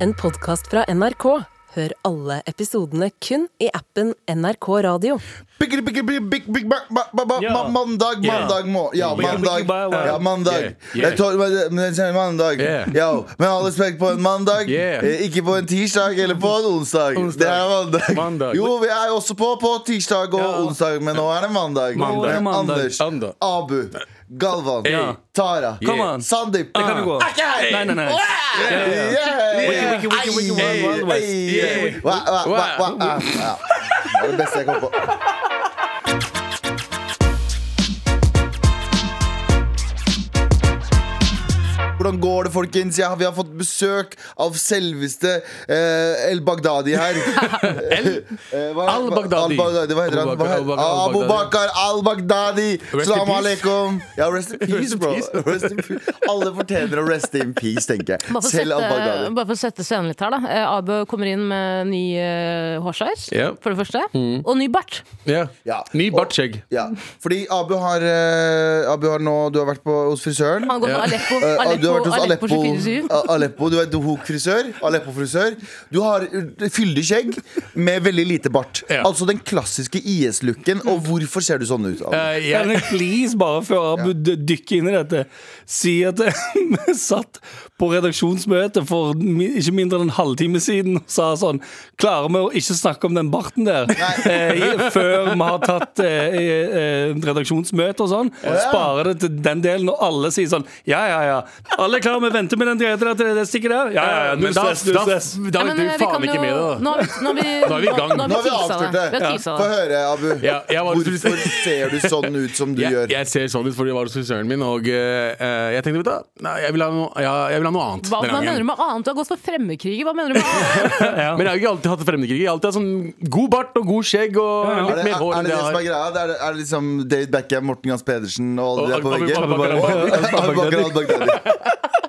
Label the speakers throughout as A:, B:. A: en podkast fra NRK. Hør alle episodene kun i appen NRK Radio.
B: Big, big, big, big, big, big, ba- ba- ba- ba-
C: Ja.
B: ma- Mandag,
C: Ja.
B: mandag må Ja,
C: Ja.
B: mandag.
C: Big, big, big,
B: Ja,
D: Yeah.
B: mandag.
D: Yeah.
B: Jeg tål- men- men jeg sier mandag.
D: Yeah.
B: Ja, Med all respekt på en mandag.
D: Yeah.
B: eh, Ikke på en tirsdag eller på en onsdag.
D: Onsdag.
B: Det er mandag.
D: Mandag.
B: Jo, vi er jo også på på tirsdag og
C: Ja.
B: onsdag, men nå er det mandag.
C: Mandag.
B: Med
C: Mandag.
B: Anders,
D: Ander.
B: Abu, Galvan,
C: Ja.
B: Tara,
C: Come on.
B: Sandeep.
C: Det kan vi gå.
E: Ah,
B: Er ikke her!
C: Nei, nei, nei.
B: Yeah!
C: Wiki, wiki, wiki, wiki, wild, wild west.
B: Hey.
D: Yeah.
B: Wa- wa- wa- wa- ah, ja. Det var det beste jeg kom på. Hvordan går det, folkens? Ja, vi har fått besøk av selveste eh, El Baghdadi her.
D: El-
B: Eh, hva-
D: Al Baghdadi.
B: Al Baghdadi, Hva heter han? Hva heter-
D: Al
B: Abu Bakar Al Baghdadi.
D: in
B: Salam
D: peace.
B: alaikum. Ja, rest in peace,
D: in
B: bro.
D: peace.
B: Rest in peace. Alle fortjener å rest in peace, tenker jeg.
E: Bare for, å
B: Selv Al
E: sette,
B: Baghdadi.
E: bare for å sette scenen litt her, da. Eh, Abu kommer inn med ny uh, hårsveis,
D: Ja.
E: for det første. Og ny bart.
D: Ja. Eh,
B: Ja.
D: Ny bartskjegg.
B: Ja, fordi Abu har, eh, Abu har nå Du har vært på, hos frisøren.
E: Han går
D: Ja.
E: på Aleppo.
B: Eh, du har vært
E: Aleppo,
B: hos
E: Aleppo
B: Aleppo,
E: 24-7.
B: A- Aleppo Du vet Dohok-frisør. Aleppo-frisør. Du har eh, fyldig skjegg med veldig lite bart.
D: Ja.
B: Altså den klassiske IS-looken. Og hvorfor ser du sånn ut? Abu?
D: Eh,
C: Kan
D: jeg,
C: jeg please, bare før Abu d- dykker inn i dette, si at vi satt på redaksjonsmøte for mi- ikke mindre enn en halvtime siden og sa sånn Klarer vi å ikke snakke om den barten der eh, i- før vi har tatt eh, eh, redaksjonsmøte og sånn? Sparer det til den delen, og alle sier sånn Ja, ja, ja. Alle er klare, vi venter med den dieten til det stikket der? Ja, ja, ja. Null
D: men da, da,
C: stress, null stress.
D: da
E: Nei,
D: er
E: men,
D: du
E: eh, vi kan
D: faen ikke
E: jo-
D: med, da.
E: Nå er vi, nå er vi,
D: Da er vi i gang.
E: Nå,
B: Nå har vi
E: teasa
B: avslørt
E: det.
B: det.
E: Vi har
B: Ja.
E: teasa
B: Få
E: det.
B: høre, Abu.
D: Ja, jeg var-
B: Hvorfor ser du sånn ut som du
D: Jeg,
B: gjør?
D: jeg ser sånn ut fordi jeg var hos frisøren min, og eh, eh, jeg tenkte vet du, hva? nei, jeg, vil ha noe, ja, jeg vil ha noe annet.
E: Hva,
D: denne
E: hva
D: gangen.
E: mener du med annet? Du har gått for fremmedkriger. Hva mener du med annet?
D: Men jeg har jo ikke alltid hatt fremmedkrig. Jeg har alltid hatt sånn god bart og god skjegg og
C: Ja,
B: Er
C: ja.
D: litt
B: det,
D: mer
B: er,
D: hår
B: er
D: enn
B: det det
D: jeg
B: som er
D: har.
B: greia? Det er, er det liksom David Beckham, Morten Gans Pedersen og alle de
D: Og-
B: der på
D: og-
B: veggen?
D: og-
B: Abu Bakar al-Baghdadi.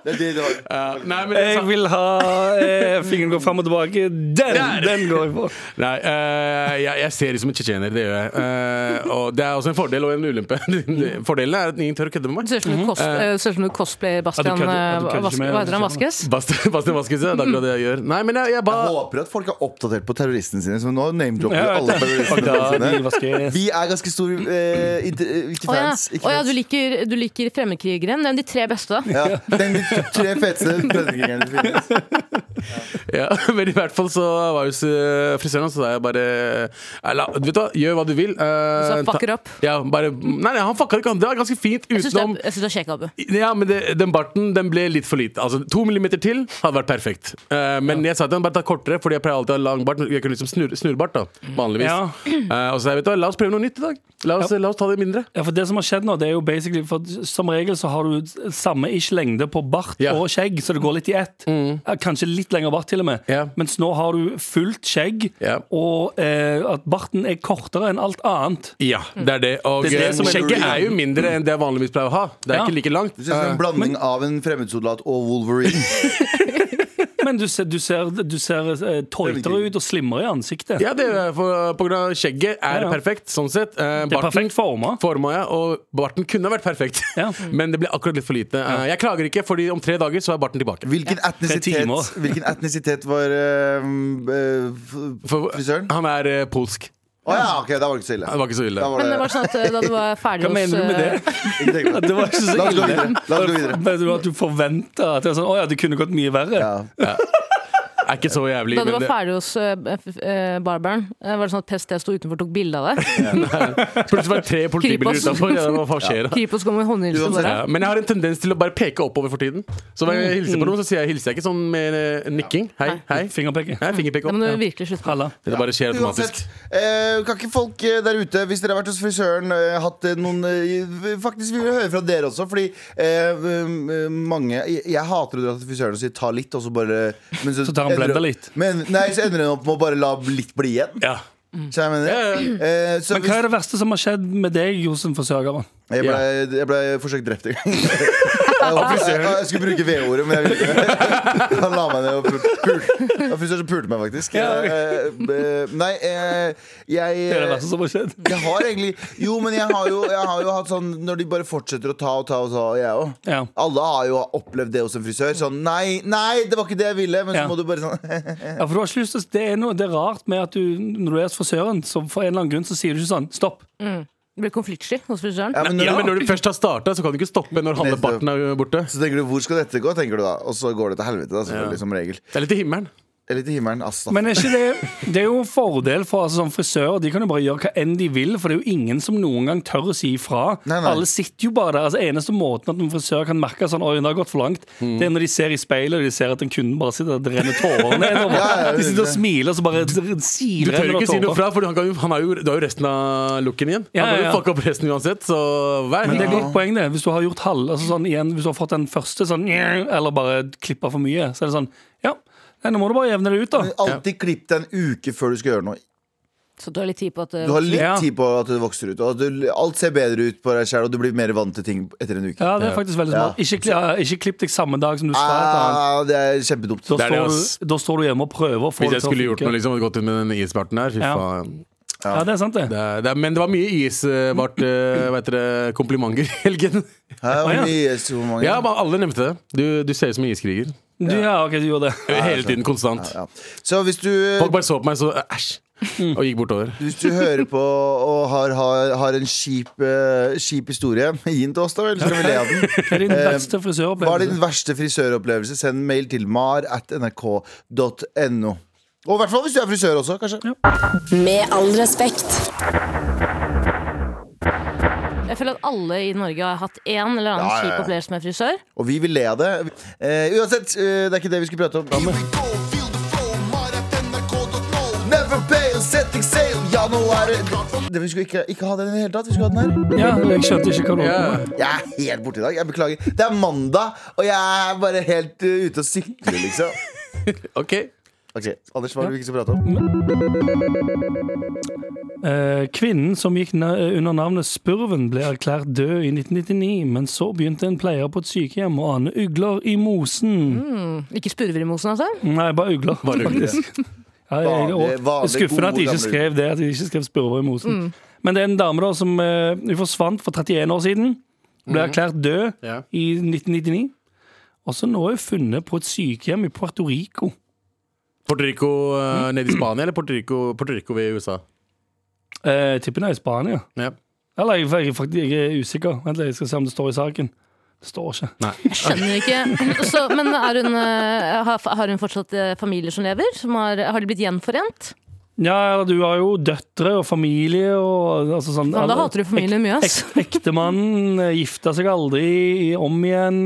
B: Det er de du har.
D: Ja, nei, men sånn-
C: Jeg
D: så-
C: vil ha eh, Fingeren går fram og tilbake. Den,
D: Der!
C: den går jeg for.
D: Nei, eh, jeg, jeg ser ut som en tsjetsjener, det gjør jeg. Eh, og det er også en fordel og en ulempe. Fordelen er at ingen tør å kødde med meg.
E: Du ser ut som du cos- eh, ser ut som du cosplayer Bastian
C: Ja, du kødder- ja, du
E: eh,
C: kødder
E: Vas-
C: med-
E: Hva heter han? Vaskes?
D: Bast- Bastian Vasquez, ja, det er akkurat det jeg gjør. Nei, men jeg, jeg
B: Jeg
D: bare
B: håper at folk er oppdatert på terroristene sine. Så nå name-dropper vi
C: Ja,
B: alle terroristene
C: Baghdadi,
B: sine.
C: Vasquez.
B: Vi er ganske store eh, inter, eh, Ikke
E: Å ja.
B: fans. Ikke
E: Å ja,
B: fans.
E: du liker, du liker fremmedkrigeren. Nevn de tre beste. da.
B: Ja, Den de tre feteste fremmedkrigerne som finnes.
D: ja, Men i hvert fall så var jeg hos eh, frisøren, så sa jeg bare eh, la, Vet du hva, gjør hva du vil. Uh,
E: Så fucker opp.
D: Ja, bare, nei, nei, han fucka ikke han. Det var ganske fint
E: Jeg syns det,
D: utenom
E: er- jeg synes det er kjekk, Abu.
D: Ja, men det, den barten den ble litt for lite. Altså, To millimeter til hadde vært perfekt. Eh, men jeg sa til han bare ta kortere, Fordi jeg pleier alltid å ha lang bart. men Jeg kunne liksom snurr, snurrbart, da, vanligvis.
C: Ja.
D: Eh, og så sa jeg, vet du, hva, la oss prøve noe nytt i dag. La oss, la oss ta det mindre.
C: Ja, for det som har skjedd nå, det er jo basically for Som regel så har du samme ish lengde på bart
D: Ja.
C: og skjegg, så det går litt i ett.
B: Mm.
C: Ja, Kanskje litt lengre bart, til og med.
D: Ja.
C: Mens nå har du fullt skjegg,
D: Ja.
C: og eh, at barten er kortere enn alt annet.
D: Ja, det er det. Og
C: Det er det
D: eh,
C: som er
D: skjegget
C: rolig.
D: er jo mindre enn det jeg vanligvis pleier å ha. Det er
C: Ja.
D: ikke like langt.
B: Du ser ut som en blanding av en fremmedsoldat og Wolverine.
C: Men du ser, du ser, du ser eh, tøytere ut og slimmere i ansiktet.
D: Ja, det er for, på grunn av skjegget er
C: Ja, ja.
D: perfekt, sånn sett. Eh,
C: Det er
D: barten
C: perfekt forma.
D: forma jeg, og barten kunne vært perfekt,
C: Ja.
D: men det ble akkurat litt for lite. Eh, jeg klager ikke, fordi om tre dager så er barten tilbake.
B: Hvilken etnisitet,
C: timer.
B: hvilken etnisitet var eh, eh, f-
D: For,
B: frisøren?
D: Han er eh, polsk.
B: Å ja, ok, da var det ikke så ille.
D: Det var ikke så ille.
B: Da var
E: Men det
B: det,
E: var sånn at eh, da du var ferdig
C: Hva mener du
E: eh,
C: med det?
B: ikke tenk på det.
C: Det var ikke så
B: La oss gå
C: ille.
B: videre. La oss gå videre.
C: Men du, at du forventa at det er sånn, Å ja, det kunne gått mye verre.
B: Ja.
D: Er ikke så jævlig,
E: Da du
D: men
E: var
D: det,
E: ferdig hos eh, f- eh, barberen, eh, var det sånn at PST sto utenfor og tok bilde av deg?
D: plutselig var det tre politibiler
E: Kripos.
D: utenfor. Ja, hva skjer da?
E: Kripos kom med håndhilsen
B: Uansett,
E: bare.
D: Ja, men jeg har en tendens til å bare peke oppover for tiden. Så når jeg hilser på noen, så sier jeg, hilser jeg ikke sånn med eh, nikking. Hei, hei.
C: Fingerpeke.
D: Nei, fingerpekk
E: Det
D: opp.
E: må du
D: Ja.
E: virkelig slutte med.
C: Halla.
D: Det bare skjer automatisk.
B: Uansett, eh, kan ikke folk eh, der ute, hvis dere har vært hos frisøren, eh, hatt eh, noen eh, Faktisk vil vi høre fra dere også, fordi eh, um, eh, mange jeg, jeg hater å dra til frisøren og si 'ta litt', og så bare men
C: Så tar
B: ender-
C: han blender litt.
B: Men, nei, så ender hun opp med å bare la litt bli igjen.
C: Ja.
B: Så jeg mener
D: Ja, ja,
B: eh, så
C: Men hva
B: hvis,
C: er det verste som har skjedd med deg hos en forsørger?
B: Jeg ble, jeg ble forsøkt drept en gang. Jeg, var frisør. jeg skulle bruke V-ordet, men jeg ville ikke. Han la meg ned og pulte. Pul. Det var Frisøren som pulte meg, faktisk.
C: Ja, ok.
B: Eh, eh, Nei, eh, jeg
C: Det er det verste som har skjedd.
B: jeg har egentlig Jo, men jeg har jo, jeg har jo hatt sånn Når de bare fortsetter å ta og ta og ta, og jeg òg.
C: Ja.
B: Alle har jo opplevd det hos en frisør. Sånn nei, nei, det var ikke det jeg ville. Men så
C: Ja.
B: må du bare sånn
C: Ja, for du har ikke lyst til å- Det er noe det er rart med at du, når du er hos frisøren, så for en eller annen grunn så sier du ikke sånn Stopp.
E: Blir konfliktsky hos frisøren.
B: ja, men når,
D: Ja, men når du først har starta, så kan du ikke stoppe når halve
B: Nettopp.
D: parten er borte.
B: Så tenker du hvor skal dette gå, tenker du da. Og så går det til helvete, da, selvfølgelig, som regel.
D: Det er litt i himmelen.
B: Eller til himmelen. Ass, da.
C: Men er ikke det, det er jo en fordel for altså, sånn frisører. De kan jo bare gjøre hva enn de vil, for det er jo ingen som noen gang tør å si ifra.
B: Nei, nei.
C: Alle sitter jo bare der. Altså, eneste måten at en frisør kan merke sånn, oi, det har gått for langt, det er når de ser i speilet og de ser at en kunde bare sitter og renner tårer nedover.
B: Ja, ja, det er
C: de sitter og
B: det.
C: smiler og så bare
D: Du
C: siler
D: tør ikke si noe fra, for han, kan jo, han har jo, du har jo resten av looken igjen.
C: Ja,
D: Han kan
C: ja,
D: jo
C: ja.
D: fucke opp resten uansett, så vær
C: Men det er et
D: ja.
C: godt poeng, det. Hvis du har gjort halv, altså sånn, igjen, hvis du har fått den første sånn, eller bare klippa for mye, så er det sånn Ja, nei, nå må du bare jevne det ut, da.
B: Alltid klipp deg en uke før du skal gjøre noe.
E: Så du har litt tid på at eh,
B: Du har litt
C: Ja.
B: tid på at det vokser ut. Og at du, alt ser bedre ut på deg sjæl, og du blir mer vant til ting etter en uke.
C: Ja, det er faktisk veldig
B: Ja.
C: smart. Ikke, kli- ja, ikke klipp deg samme dag som du skal. et annet.
B: Ah, det er kjempedumt.
C: Da,
D: Det er det, ass.
C: står du, da står du hjemme og prøver å få
D: Hvis jeg
C: til å
D: skulle gjort
C: funke.
D: noe, liksom, og gått ut med den isbarten der, fy
C: Ja.
D: faen.
C: Ja, det er sant, det.
D: Det er, det er, men det var mye isbart uh, vet dere, komplimenter i helgen.
B: Hæ, hvor
C: ja.
B: mye- så mange-
D: Ja, men alle nevnte det. Du, du ser ut som en iskriger.
C: Du, ja, ok, du gjorde det.
D: Hele tiden, konstant.
B: Ja. Så hvis du
D: Folk bare så på meg, så eh, æsj, og gikk bortover.
B: Hvis du hører på og har, har, har en kjip, eh, kjip historie, gi den til oss, da vel. Så kan vi le av den.
C: Hva er din
B: Eh, Hva
C: beste
B: er din
C: frisøropplevelse?
B: verste frisøropplevelse? Send en mail til mar at nrk.no. Og i hvert fall hvis du er frisør også, kanskje.
A: Med all respekt.
E: Jeg føler at alle i Norge har hatt én eller
B: Ja,
E: annen
B: ja, ja.
E: kjip opplevelse med frisør.
B: Og vi vil le av det. Eh, uansett, eh, det er ikke det vi skulle prate om. Never pay, setting sail, ja, nå er det Det Vi skulle ikke, ikke ha den i det hele tatt. Vi skulle ha den her.
C: Ja, jeg skjønte ikke hva du
D: Ja.
C: holdt på med.
B: Jeg er helt borte i dag. Jeg beklager. Det er mandag, og jeg er bare helt eh, ute og sykler, liksom.
D: Ok.
B: Ok, Anders, hva er det vi ikke skal prate om?
C: Eh, Kvinnen som gikk na under navnet Spurven, ble erklært død i 1999, men så begynte en pleier på et sykehjem å ane ugler i mosen.
E: Ikke spurver i mosen, altså.
C: Nei, bare ugler.
D: Bare ugler.
C: faktisk. Ja, jeg, jeg,
B: Vanlig- vanlig
C: skuffende at
B: god
C: de ikke
B: gamle-
C: skrev det, at de ikke skrev Spurver i mosen.
E: Mm.
C: Men det er en dame da som eh, hun forsvant for 31 år siden. Ble erklært død
D: Ja.
C: i 1999. Og så nå er hun funnet på et sykehjem i Puerto Rico.
D: Puerto Rico eh, nede i Spania, eller Puerto Rico, Puerto Rico ved USA?
C: Eh, tipper det er i Spania.
D: Ja.
C: Eller jeg, jeg, jeg, faktisk- jeg er usikker. Vent litt, jeg skal se om det står i saken. Det står ikke.
E: Jeg skjønner ikke. Så, men er hun, eh, har- har hun fortsatt eh, familier som lever? Som har, har de blitt gjenforent?
C: Ja, eller du har jo døtre og familie og altså sånn
E: Ja, da
C: alle-
E: hater du familien mye, ass.
C: ek- Ektemannen eh, gifta seg aldri om igjen.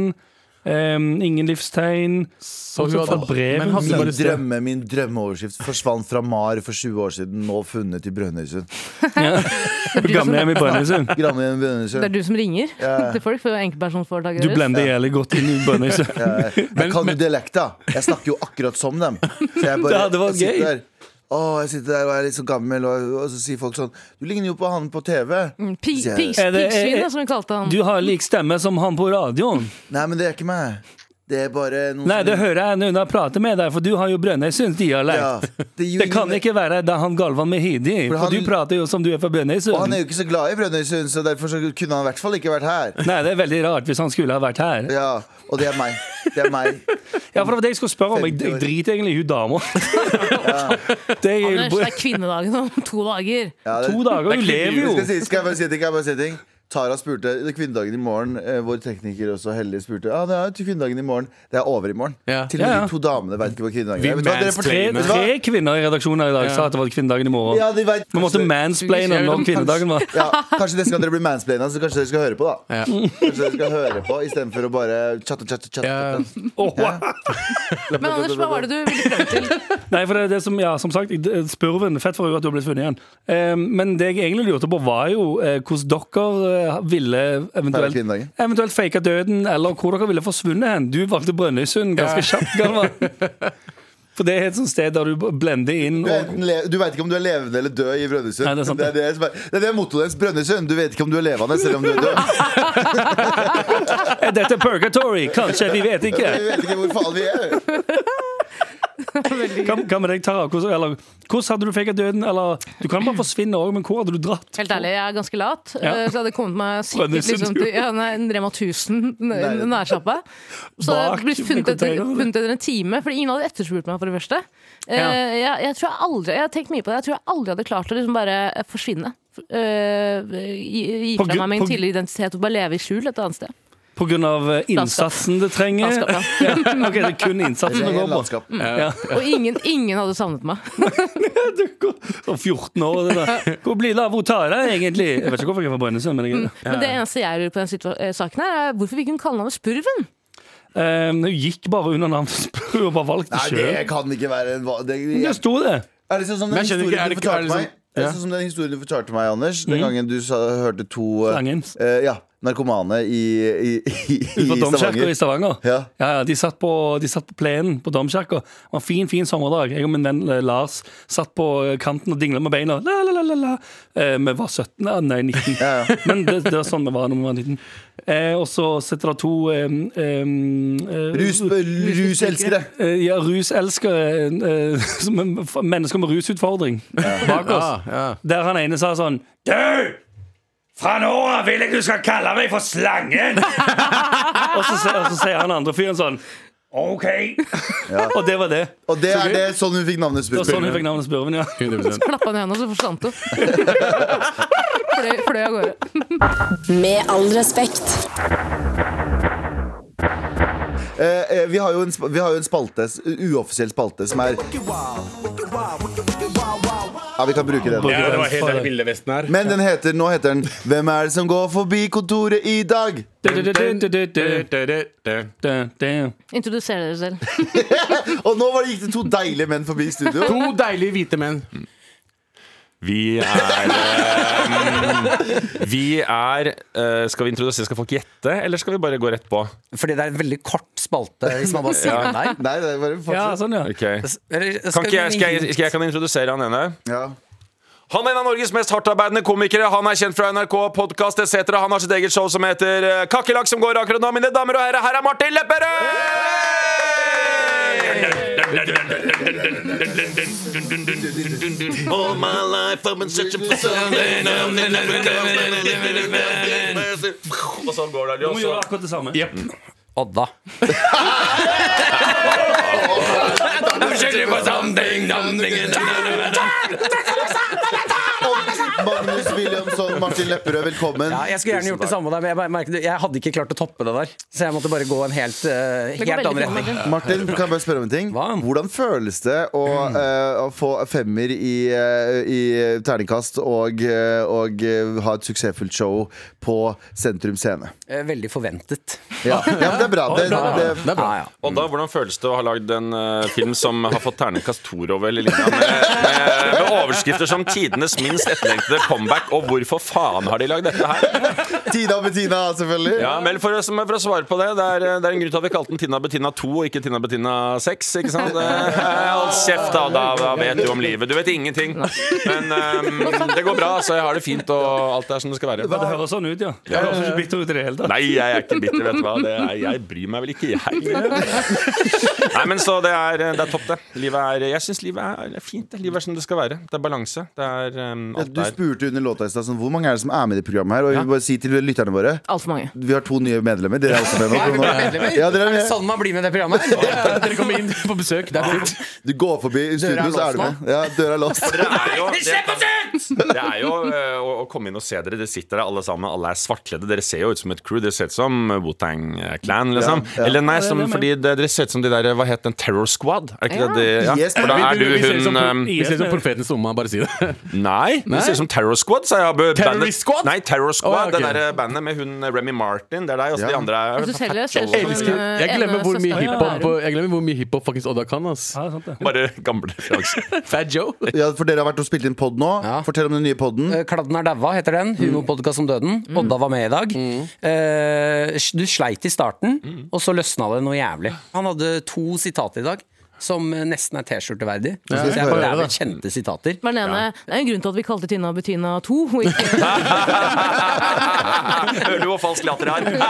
C: Em, ingen livstegn.
D: Så
C: hun hadde- Men hadde
B: Min
C: bare
B: drømme, min drømmeoverskrift forsvant fra Mar for 20 år siden, nå funnet i Brønnøysund.
C: Gamlehjem i Brønnøysund.
B: Grannene i
E: Det er
B: Brønnøysund.
E: du som ringer
B: Ja.
E: til folk for enkeltpersonforetak.
C: Du
E: deres.
C: blender jævlig godt inn i Brønnøysund.
B: Eh, Jeg kan jo dialekta! Jeg snakker jo akkurat som dem. Så jeg bare
C: Ja, det var
B: jeg sitter
C: gøy.
B: der. Å, jeg sitter der og er litt så gammel, og, og så sier folk sånn Du ligner jo på han på TV.
C: Mm.
E: Pi,
B: Så jeg-
E: pigs-
C: Er det- er-
E: Pigsvinet, som vi kalte han.
C: Du har lik stemme som han på radioen.
B: Nei, men det er ikke meg. Det er bare noen
C: Nei,
B: som-
C: det hører jeg når jeg prater med deg, for du har
B: Ja,
C: jo Brønnøysundsdialekt.
B: det er jo
C: Det kan
B: ingen-
C: ikke være da han Galvan Mehidi,
B: For
C: for
B: han-
C: du prater jo som du er fra
B: Og han er
C: Brønnøysund.
B: jo ikke så glad i Brønnøysund, så derfor så kunne han i hvert fall ikke vært her.
C: Nei, det er veldig rart hvis han skulle ha vært her.
B: Ja, Og det er meg. Det er meg.
C: Ja, for det var det jeg skulle spørre om. Jeg, jeg driter egentlig i hun dama. Det er
E: Anders, det
C: jo
E: er kvinnedagen om to dager.
B: Ja, det,
C: to dager, hun lever jo.
B: Skal jeg, si, skal jeg bare si en ting? Skal jeg bare si en ting? Tara spurte det er kvinnedagen i morgen. eh, Vår tekniker også Hellig spurte ah, det er jo til kvinnedagen i morgen. Det er over i morgen.
D: Ja.
B: Til og med
C: Ja, ja.
B: de to damene vet ikke hva kvinnedagen
D: Vi
B: er. Vet du hva, dere
C: Tre,
D: mansplainer.
B: forteller- vet du hva?
C: tre kvinner i redaksjonen her i dag sa at det var kvinnedagen i morgen.
B: Ja, de vet,
C: Vi måtte
B: kanskje-
C: mansplaine om når kvinnedagen var.
B: ja, Kanskje neste gang dere blir mansplaina, så kanskje dere skal høre på, da.
D: Ja.
B: Kanskje dere skal høre på Istedenfor å bare chatte, chatte, chatte.
D: Ja.
B: chatte.
C: Åh, wow.
E: Men Anders, hva var det du ville frem til?
C: Nei, for det er det som, ja, som sagt, jeg- spurven, fett for henne at du har blitt funnet igjen. Eh, men det jeg egentlig lurte på var jo eh, hvordan dere eh, ville
B: Feire
C: eventuelt,
B: kvinnedagen.
C: eventuelt fake døden, eller hvor dere ville forsvunnet hen. Du valgte Brønnøysund ganske kjapt, Galvan. For det er et sånt sted der du blender inn
B: Du, er
C: og
B: enten le- du veit ikke om du er levende eller død i Brønnøysund.
C: Nei, det er sant,
B: det er det som er, det er det mottoet deres. Brønnøysund. Du vet ikke om du er levende selv om du er død.
C: Er Eh, dette purgatory? Kanskje, vi vet ikke.
B: Vi vet ikke hvor faen vi er.
C: Hva, hva med deg, Tara? Hvordan, eller, hvordan hadde du feket døden? Eller, du kan bare forsvinne òg, men hvor hadde du dratt?
E: Helt ærlig, jeg er ganske lat.
C: Ja.
E: eh, Så jeg hadde kommet meg sikkert
C: Brønnøysund,
E: liksom,
C: du.
E: til ja, nei, en Rema 1000 n- nærsjappa. Så jeg
C: Bak
E: hadde blitt funnet etter,
C: containeren.
E: funnet etter en time, fordi ingen hadde etterspurt meg, for det første. Eh,
C: Ja.
E: Jeg, jeg tror jeg aldri Jeg har tenkt mye på det. Jeg tror jeg aldri hadde klart å liksom bare eh, forsvinne. eh, gi gi
C: På
E: fra
C: grunn-
E: meg min
C: på-
E: tidligere identitet og bare leve i skjul et annet sted.
C: Pga. eh, innsatsen det trenger?
E: Landskap, ja.
C: Ja, ok, det er kun innsatsen det
B: Det er
C: går på.
B: landskap.
C: Ja.
E: Og ingen, ingen hadde savnet meg.
C: Du går- og 14 år, det der. Hvor blir det av Tara, egentlig? Jeg vet ikke hvorfor jeg er fra Brønnøysund, men jeg,
E: Men det eneste jeg lurer på i den situa- eh, saken her, er hvorfor fikk hun kallenavnet Spurven?
C: Eh, hun gikk bare under navnet og bare valgte
B: Nei,
C: sjøl.
B: det kan ikke være en va- det,
C: Det sto det.
B: Er det sånn som den
D: Men jeg skjønner
B: historien
D: ikke, er
B: du
D: det ikke- er
B: fortalte
D: det
B: meg?
D: sånn-
B: Er det
D: Ja. Mm.
B: sånn som den historien du fortalte meg, Anders? Den gangen du sa, hørte to eh,
C: Slangen.
B: eh, ja, narkomane i, i, i, i
C: På Domkirka
B: Stavanger.
C: i Stavanger.
B: Ja.
C: Ja, ja, de, satt på, de satt på plenen på Domkirka. Det var en fin fin sommerdag. Jeg og min venn eh, Lars satt på eh, kanten og dingla med beina. La, la, la, la, la. Eh, vi var 17, ja, nei 19.
B: Ja, ja.
C: Men det, det var sånn vi var når vi var 19. Eh, og så sitter det to eh, eh, eh,
B: Rus, ruselskere.
C: eh, ja, ruselskere, eh, som er mennesker med rusutfordring, bak oss.
D: Ja, ja.
C: Der han ene sa sånn Du! Fra nå av vil jeg du skal kalle meg for Slangen! og, så, se- og så sier han andre fyren sånn OK. og det var det.
B: Og det er det sånn hun fikk navnet
C: Det var sånn
B: Spurven.
C: hun fikk navnet Spurven, ja.
D: 100%
E: Klappa ned henne, og så forsvant hun. Fløy- Fløy av gårde.
A: Med all respekt.
B: Eh, eh, vi, har jo en, sp- vi har jo en spalte, s- uoffisiell spalte, som er Ja, vi kan bruke den.
D: Ja, det var helt den ville vesten her.
B: Men den heter, nå heter den 'Hvem er det som går forbi kontoret i dag?'
E: Introduser dere selv.
B: Og nå var det, gikk det to deilige menn forbi studio.
D: To deilige hvite menn.
F: Vi er eh, Vi er eh, Skal vi introdusere, skal folk gjette, eller skal vi bare gå rett på?
G: Fordi det er en veldig kort spalte hvis man bare sier
F: Ja.
G: nei.
B: Nei, det er bare
C: Ja,
B: fortsatt.
C: sånn, ja.
F: Ok.
G: Eller
F: Kan
G: skal
F: ikke jeg,
G: vi-
F: skal jeg, skal jeg kan introdusere han ene?
B: Ja.
F: Han er en av Norges mest hardtarbeidende komikere. Han er kjent fra NRK, podkast etc. Han har sitt eget show som heter eh, Kakerlakk, som går akkurat nå. Mine damer og herrer, her er Martin Lepperød! Og sånn går det.
C: Du må gjøre akkurat det samme.
G: Odda.
B: Og Magnus Williamson, Martin Lepperød, velkommen.
G: Ja, jeg skulle gjerne gjort det samme der, men jeg, bare merket, det- jeg hadde ikke klart å toppe det der. Så jeg måtte bare gå en helt, eh,
E: Det går
G: helt
E: veldig
G: annen
E: bra,
G: retning.
E: Martin.
B: Martin, kan jeg bare spørre om en ting?
G: Hva?
B: Hvordan føles det å, eh, å få femmer i, eh, i terningkast og, eh, og eh, ha et suksessfullt show på Sentrum Scene?
G: Eh, Veldig forventet.
B: Ja, ja men det er bra. Det, det,
G: Det er bra. Ja, ja.
F: Og da, Hvordan føles det å ha lagd en eh, film som har fått terningkast Torov eller lignende, med, med, med overskrifter som 'Tidenes minst etterlengtede comeback' og 'Hvorfor faen har de lagd dette her?'
B: Tina og Bettina, selvfølgelig.
F: Ja, vel, for, å- som- for å svare på det, det er, eh, det er en grunn til at vi kalte den Tina Bettina 2 og ikke Tina Bettina 6. Ikke sant? Eh, Hold kjeft, da, da, da vet du om livet. Du vet ingenting. Men eh, det går bra, så jeg har det fint, og alt er som det skal være.
C: Det høres sånn ut, ja. Det høres ikke bitter ut i det hele tatt.
F: Nei, jeg er ikke bitter, vet du hva. Det er, jeg bryr meg vel ikke, jeg. Nei, men så det er, det er topp, det. Livet er, jeg syns livet er fint. det. Livet er som det skal være. Det er balanse. Det er um,
B: Ja,
F: alt
B: Du
F: der.
B: spurte under låta i stad sånn, hvor mange er det som er med i det programmet. her Og jeg vil bare si til lytterne våre
E: Altfor mange.
B: Vi har to nye medlemmer. Dere er også med nå. Ja, dere er med.
G: Sånn man blir med i det programmet. her.
D: Dere kommer inn på besøk. Det er fullt.
B: Du går forbi studio, så er du med. Ja, døra er låst.
F: Det er jo, det, det er jo eh, å, å komme inn og se dere. Dere sitter der alle sammen. Alle er svartkledde. Dere ser jo ut som et crew. Dere ser ut som Wotang Clan, liksom.
B: Ja, ja.
F: Eller nei, som,
C: det er
F: fordi det, dere ser ut som de der eh, Hva het den? Terror Squad? Er ikke
E: Ja.
F: det det?
B: Yes,
F: For da
B: men
F: er
D: Vi ser ut
F: du
D: som
F: hun
D: pro-
F: um,
D: Vi ser ut som profetens omme, bare si det.
F: Nei, det ser ut som Terror Squad. Sa jeg. Bandet-
D: Terrorist Squad?
F: Nei, Terror Squad.
D: Å, ja, ok.
F: Det der eh, bandet med hun Remy Martin. Det er deg, og så
B: Ja.
F: de andre er
E: Jeg synes heller jeg ser ut som-
F: Fat Joe.
E: eh,
D: Elsker. Jeg glemmer hvor mye
E: Ene søster.
D: hiphop Jeg glemmer hvor mye hiphop fuckings Odda kan. ass
C: Ja, sant det.
F: Bare gamle referanser.
D: Fat Joe.
B: Ja, for dere har vært og spilt inn pod nå.
G: Ja.
B: Fortell om den nye poden.
G: Eh, Kladden er daua, heter den.
D: Mm.
G: Humorpodkast om døden. Odda var med i dag.
D: Mm.
G: Eh, du sleit i starten, og så løsna det noe jævlig. Han hadde to sitat i dag. som eh, nesten er T-skjorteverdig. Det
D: Ja,
G: synes
D: jeg
G: jeg
D: hører
G: bare er
D: det.
G: vel kjente sitater.
E: Var den ene, Det er en grunn til at vi kalte Tynna og Bettina to. Og ikke,
F: Hører du hvor falsk latter jeg har?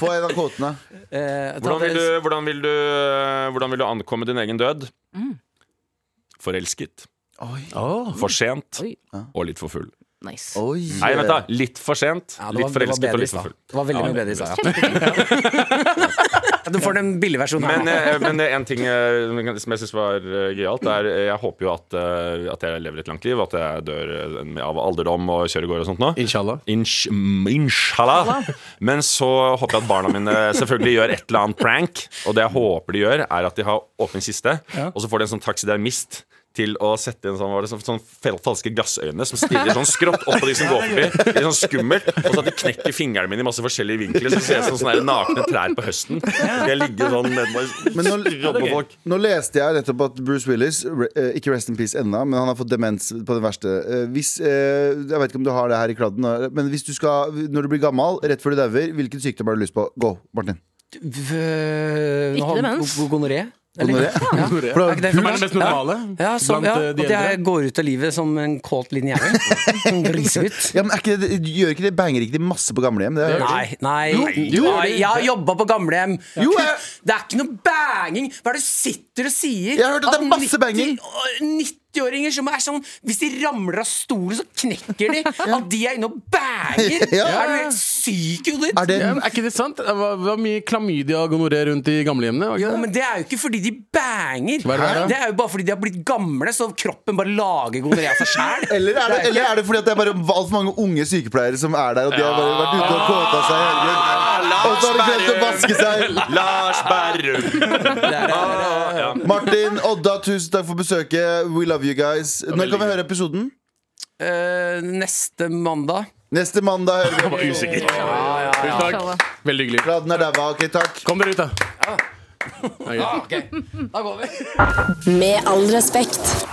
B: Få en av kvotene.
G: Eh, ta
F: Hvordan vil,
G: det-
F: du, hvordan, vil du, eh, hvordan vil du ankomme din egen død? Forelsket,
B: Oi.
D: Åh.
F: for sent
E: Oi.
F: og litt for full.
E: nice.
B: Oi.
F: Nei, vent, da. Litt for sent,
G: Ja,
F: litt
G: det var- det var
F: forelsket og
G: bedre i
F: litt for
G: stad.
F: full.
G: Det var veldig mye bedre i stad, ja. Du får den billige versjonen her.
F: Men, eh, men eh, en ting eh, som jeg syns var eh, gøyalt, er eh, Jeg håper jo at, eh, at jeg lever et langt liv, at jeg dør eh, av alderdom og kjører gård og sånt nå.
D: Inshallah.
F: Insh, mm, inshallah. Men så håper jeg at barna mine selvfølgelig gjør et eller annet prank. Og det jeg håper de gjør, er at de har åpen kiste, og så får de en sånn taxidermist. Til å sette inn sånn, hva var det, sånn, sånn fel- falske glassøyne som stirrer sånn skrått opp på de som går forbi. Litt sånn skummelt. Og så at de knekker fingrene mine i masse forskjellige vinkler. Så det ser jeg som sånne her nakne trær på høsten. Jeg ligger sånn nedover
B: Men nå,
F: Robber folk.
B: nå leste jeg nettopp at Bruce Willis, re, eh, ikke Rest in Peace ennå, men han har fått demens på det verste. Eh, Hvis, eh, jeg vet ikke om du har det her i kladden, eh, men hvis du skal, når du blir gammel, rett før du dauer, hvilken sykdom har du lyst på? Gå, Martin.
G: V-
E: Ikke
G: nå har-
E: demens.
G: go- Gonoré. eller?
B: Gonoré?
G: Ja.
D: Gonoré.
G: Er ikke det
D: Som er det mest normale
G: Ja, som,
D: blant
G: ja,
D: eh,
G: at
D: de eldre.
G: jeg går ut av livet som en kåt liten jævel. En Grisegutt.
B: Ja, men er ikke det, gjør ikke det banger ikke de masse på gamlehjem? Det har jeg hørt.
G: Nei, nei,
D: jo,
G: nei,
D: det-
G: jeg har jobba på gamlehjem.
B: Jo, jeg-
G: Det er ikke noe banging. Hva er det du sitter og sier?
B: Jeg har hørt at det er masse banging.
G: 90-åringer øh, som er sånn Hvis de ramler av stolen, så knekker de. At de er inne og banger!
B: Ja.
G: Er du helt syk i hodet ditt?
B: Er det
D: Ja, men er ikke det sant? Det var, det var mye klamydia og gonoré rundt i gamlehjemmene. var
G: Jo,
D: ikke det?
G: men det er jo ikke fordi de banger.
D: Hva er det her, da?
G: Det er jo bare fordi de har blitt gamle, så kroppen bare lager gonoré av seg sjæl.
B: eller er det, eller er det fordi at det er bare altfor mange unge sykepleiere som er der, og de har bare vært ute og kåta seg i helgen? Og så har de glemt å vaske seg.
F: Lars Berrum! Ah, ja.
B: Martin, Odda, tusen takk for besøket. We love you guys. Når kan vi høre episoden?
G: Eh, neste mandag
B: Neste mandag hører vi.
D: Usikker. Tusen
E: Inshallah.
D: takk. Veldig hyggelig.
B: Kladden er daua. Ok, takk.
D: Kom dere ut, da.
G: Da går vi.
A: Med all respekt.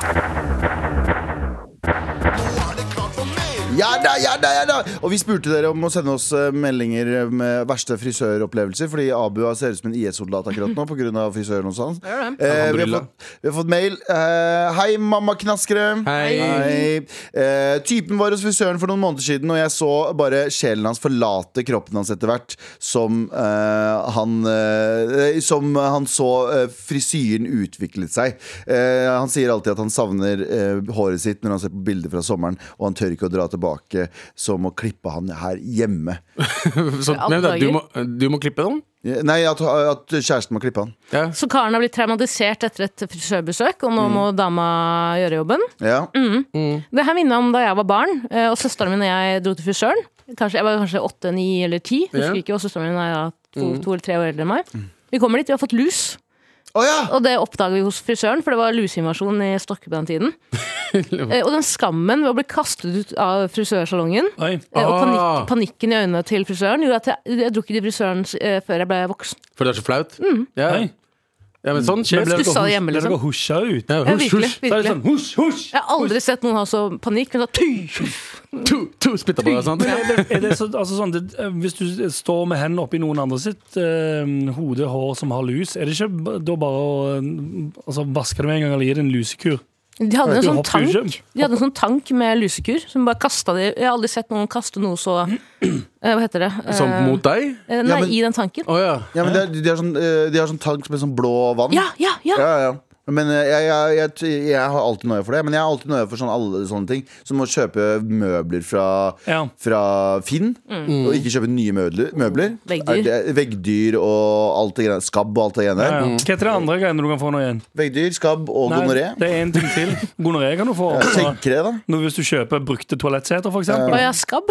B: Ja da, ja da, ja da Og vi spurte dere om å sende oss eh, meldinger med verste frisøropplevelser, fordi Abu ser ut som en IS-soldat akkurat nå pga. frisøren hos han. Eh, vi, har
D: Alhamdulillah.
B: fått, vi har fått mail. Eh, hei, mammaknaskere.
D: Hei.
B: Eh, typen var hos frisøren for noen måneder siden, og jeg så bare sjelen hans forlate kroppen hans etter hvert, som eh, han eh, Som han så eh, frisyren utviklet seg. Eh, han sier alltid at han savner eh, håret sitt når han ser på bilder fra sommeren, og han tør ikke å dra tilbake, som å klippe han her hjemme.
D: Så, men, da, du, må, du må klippe den?
B: Nei, at, at kjæresten må klippe han.
D: Ja.
E: Så Karen har blitt traumatisert etter et frisørbesøk, og nå må dama gjøre jobben.
B: Ja.
E: Det her minner om da jeg var barn, eh, og søsteren min og jeg dro til frisøren. Kanskje, jeg var kanskje åtte, ni eller ti. Husker ikke, og søsteren min er da to, to eller tre år eldre enn meg. Vi kommer dit, vi har fått lus,
B: Mm. Å ja!
E: og det oppdager vi hos frisøren, for det var lusinvasjon i Stokke på den tiden. Eh, og den skammen ved å bli kastet ut av frisørsalongen,
C: Oi.
E: eh, og
D: Ah.
E: panikk, panikken i øynene til frisøren, gjorde at jeg, jeg dro ikke til frisøren eh, før jeg ble voksen.
D: For det er så flaut? Ja.
C: Hei.
D: ja, men sånn skjer.
C: Men ble dere
E: Stussa hjemme,
C: ble dere
E: liksom.
C: husja ut?
D: Ja,
E: Ja,
D: husj,
E: virkelig,
D: husj.
C: Så er det
E: virkelig.
C: sånn husj, husj!
E: Jeg har aldri sett noen ha så panikk. Men så, ty,
D: To, to spytta på deg, sant?
C: Men er det, er det så, altså sånn, det, eh, hvis du står med hendene oppi noen andre sitt eh, hode, hår som har lus, er det ikke b- da bare å eh, altså, vaske det med en gang eller gi det en lusekur?
E: De hadde, en
C: Du
E: sånn
C: hopper jo
E: tank,
C: ikke.
E: de hadde en sånn tank med lusekur som bare kasta det Jeg har aldri sett noen kaste noe så eh, Hva heter det? Eh,
D: Sånn mot deg?
E: eh, Nei,
B: Ja, men-
E: i den tanken.
D: Å ja.
B: ja men det er, de, har sånn, eh, de har sånn tank med sånn blå vann.
E: Ja, ja, ja!
B: Ja, ja. Men eh, jeg, jeg, jeg, t- jeg har alltid nøye for det. Men jeg har alltid nøye for sånn, alle sånne ting. Som å kjøpe møbler fra,
C: Ja.
B: fra Finn. Og ikke kjøpe nye møbler. møbler.
E: Mm. Veggdyr.
B: Er det- Veggdyr og alt det greiene. Skabb og alt det greiene
C: Ja, ja.
B: der.
C: Hva heter det andre greiene du kan få nå igjen?
B: Veggdyr, skabb og
C: Nei,
B: gonoré.
C: Det er en ting til. Gonoré kan du få. Altså,
B: Skjeggkre, da.
C: nå hvis du kjøper brukte toalettseter, for eksempel.
E: Og jeg har skabb.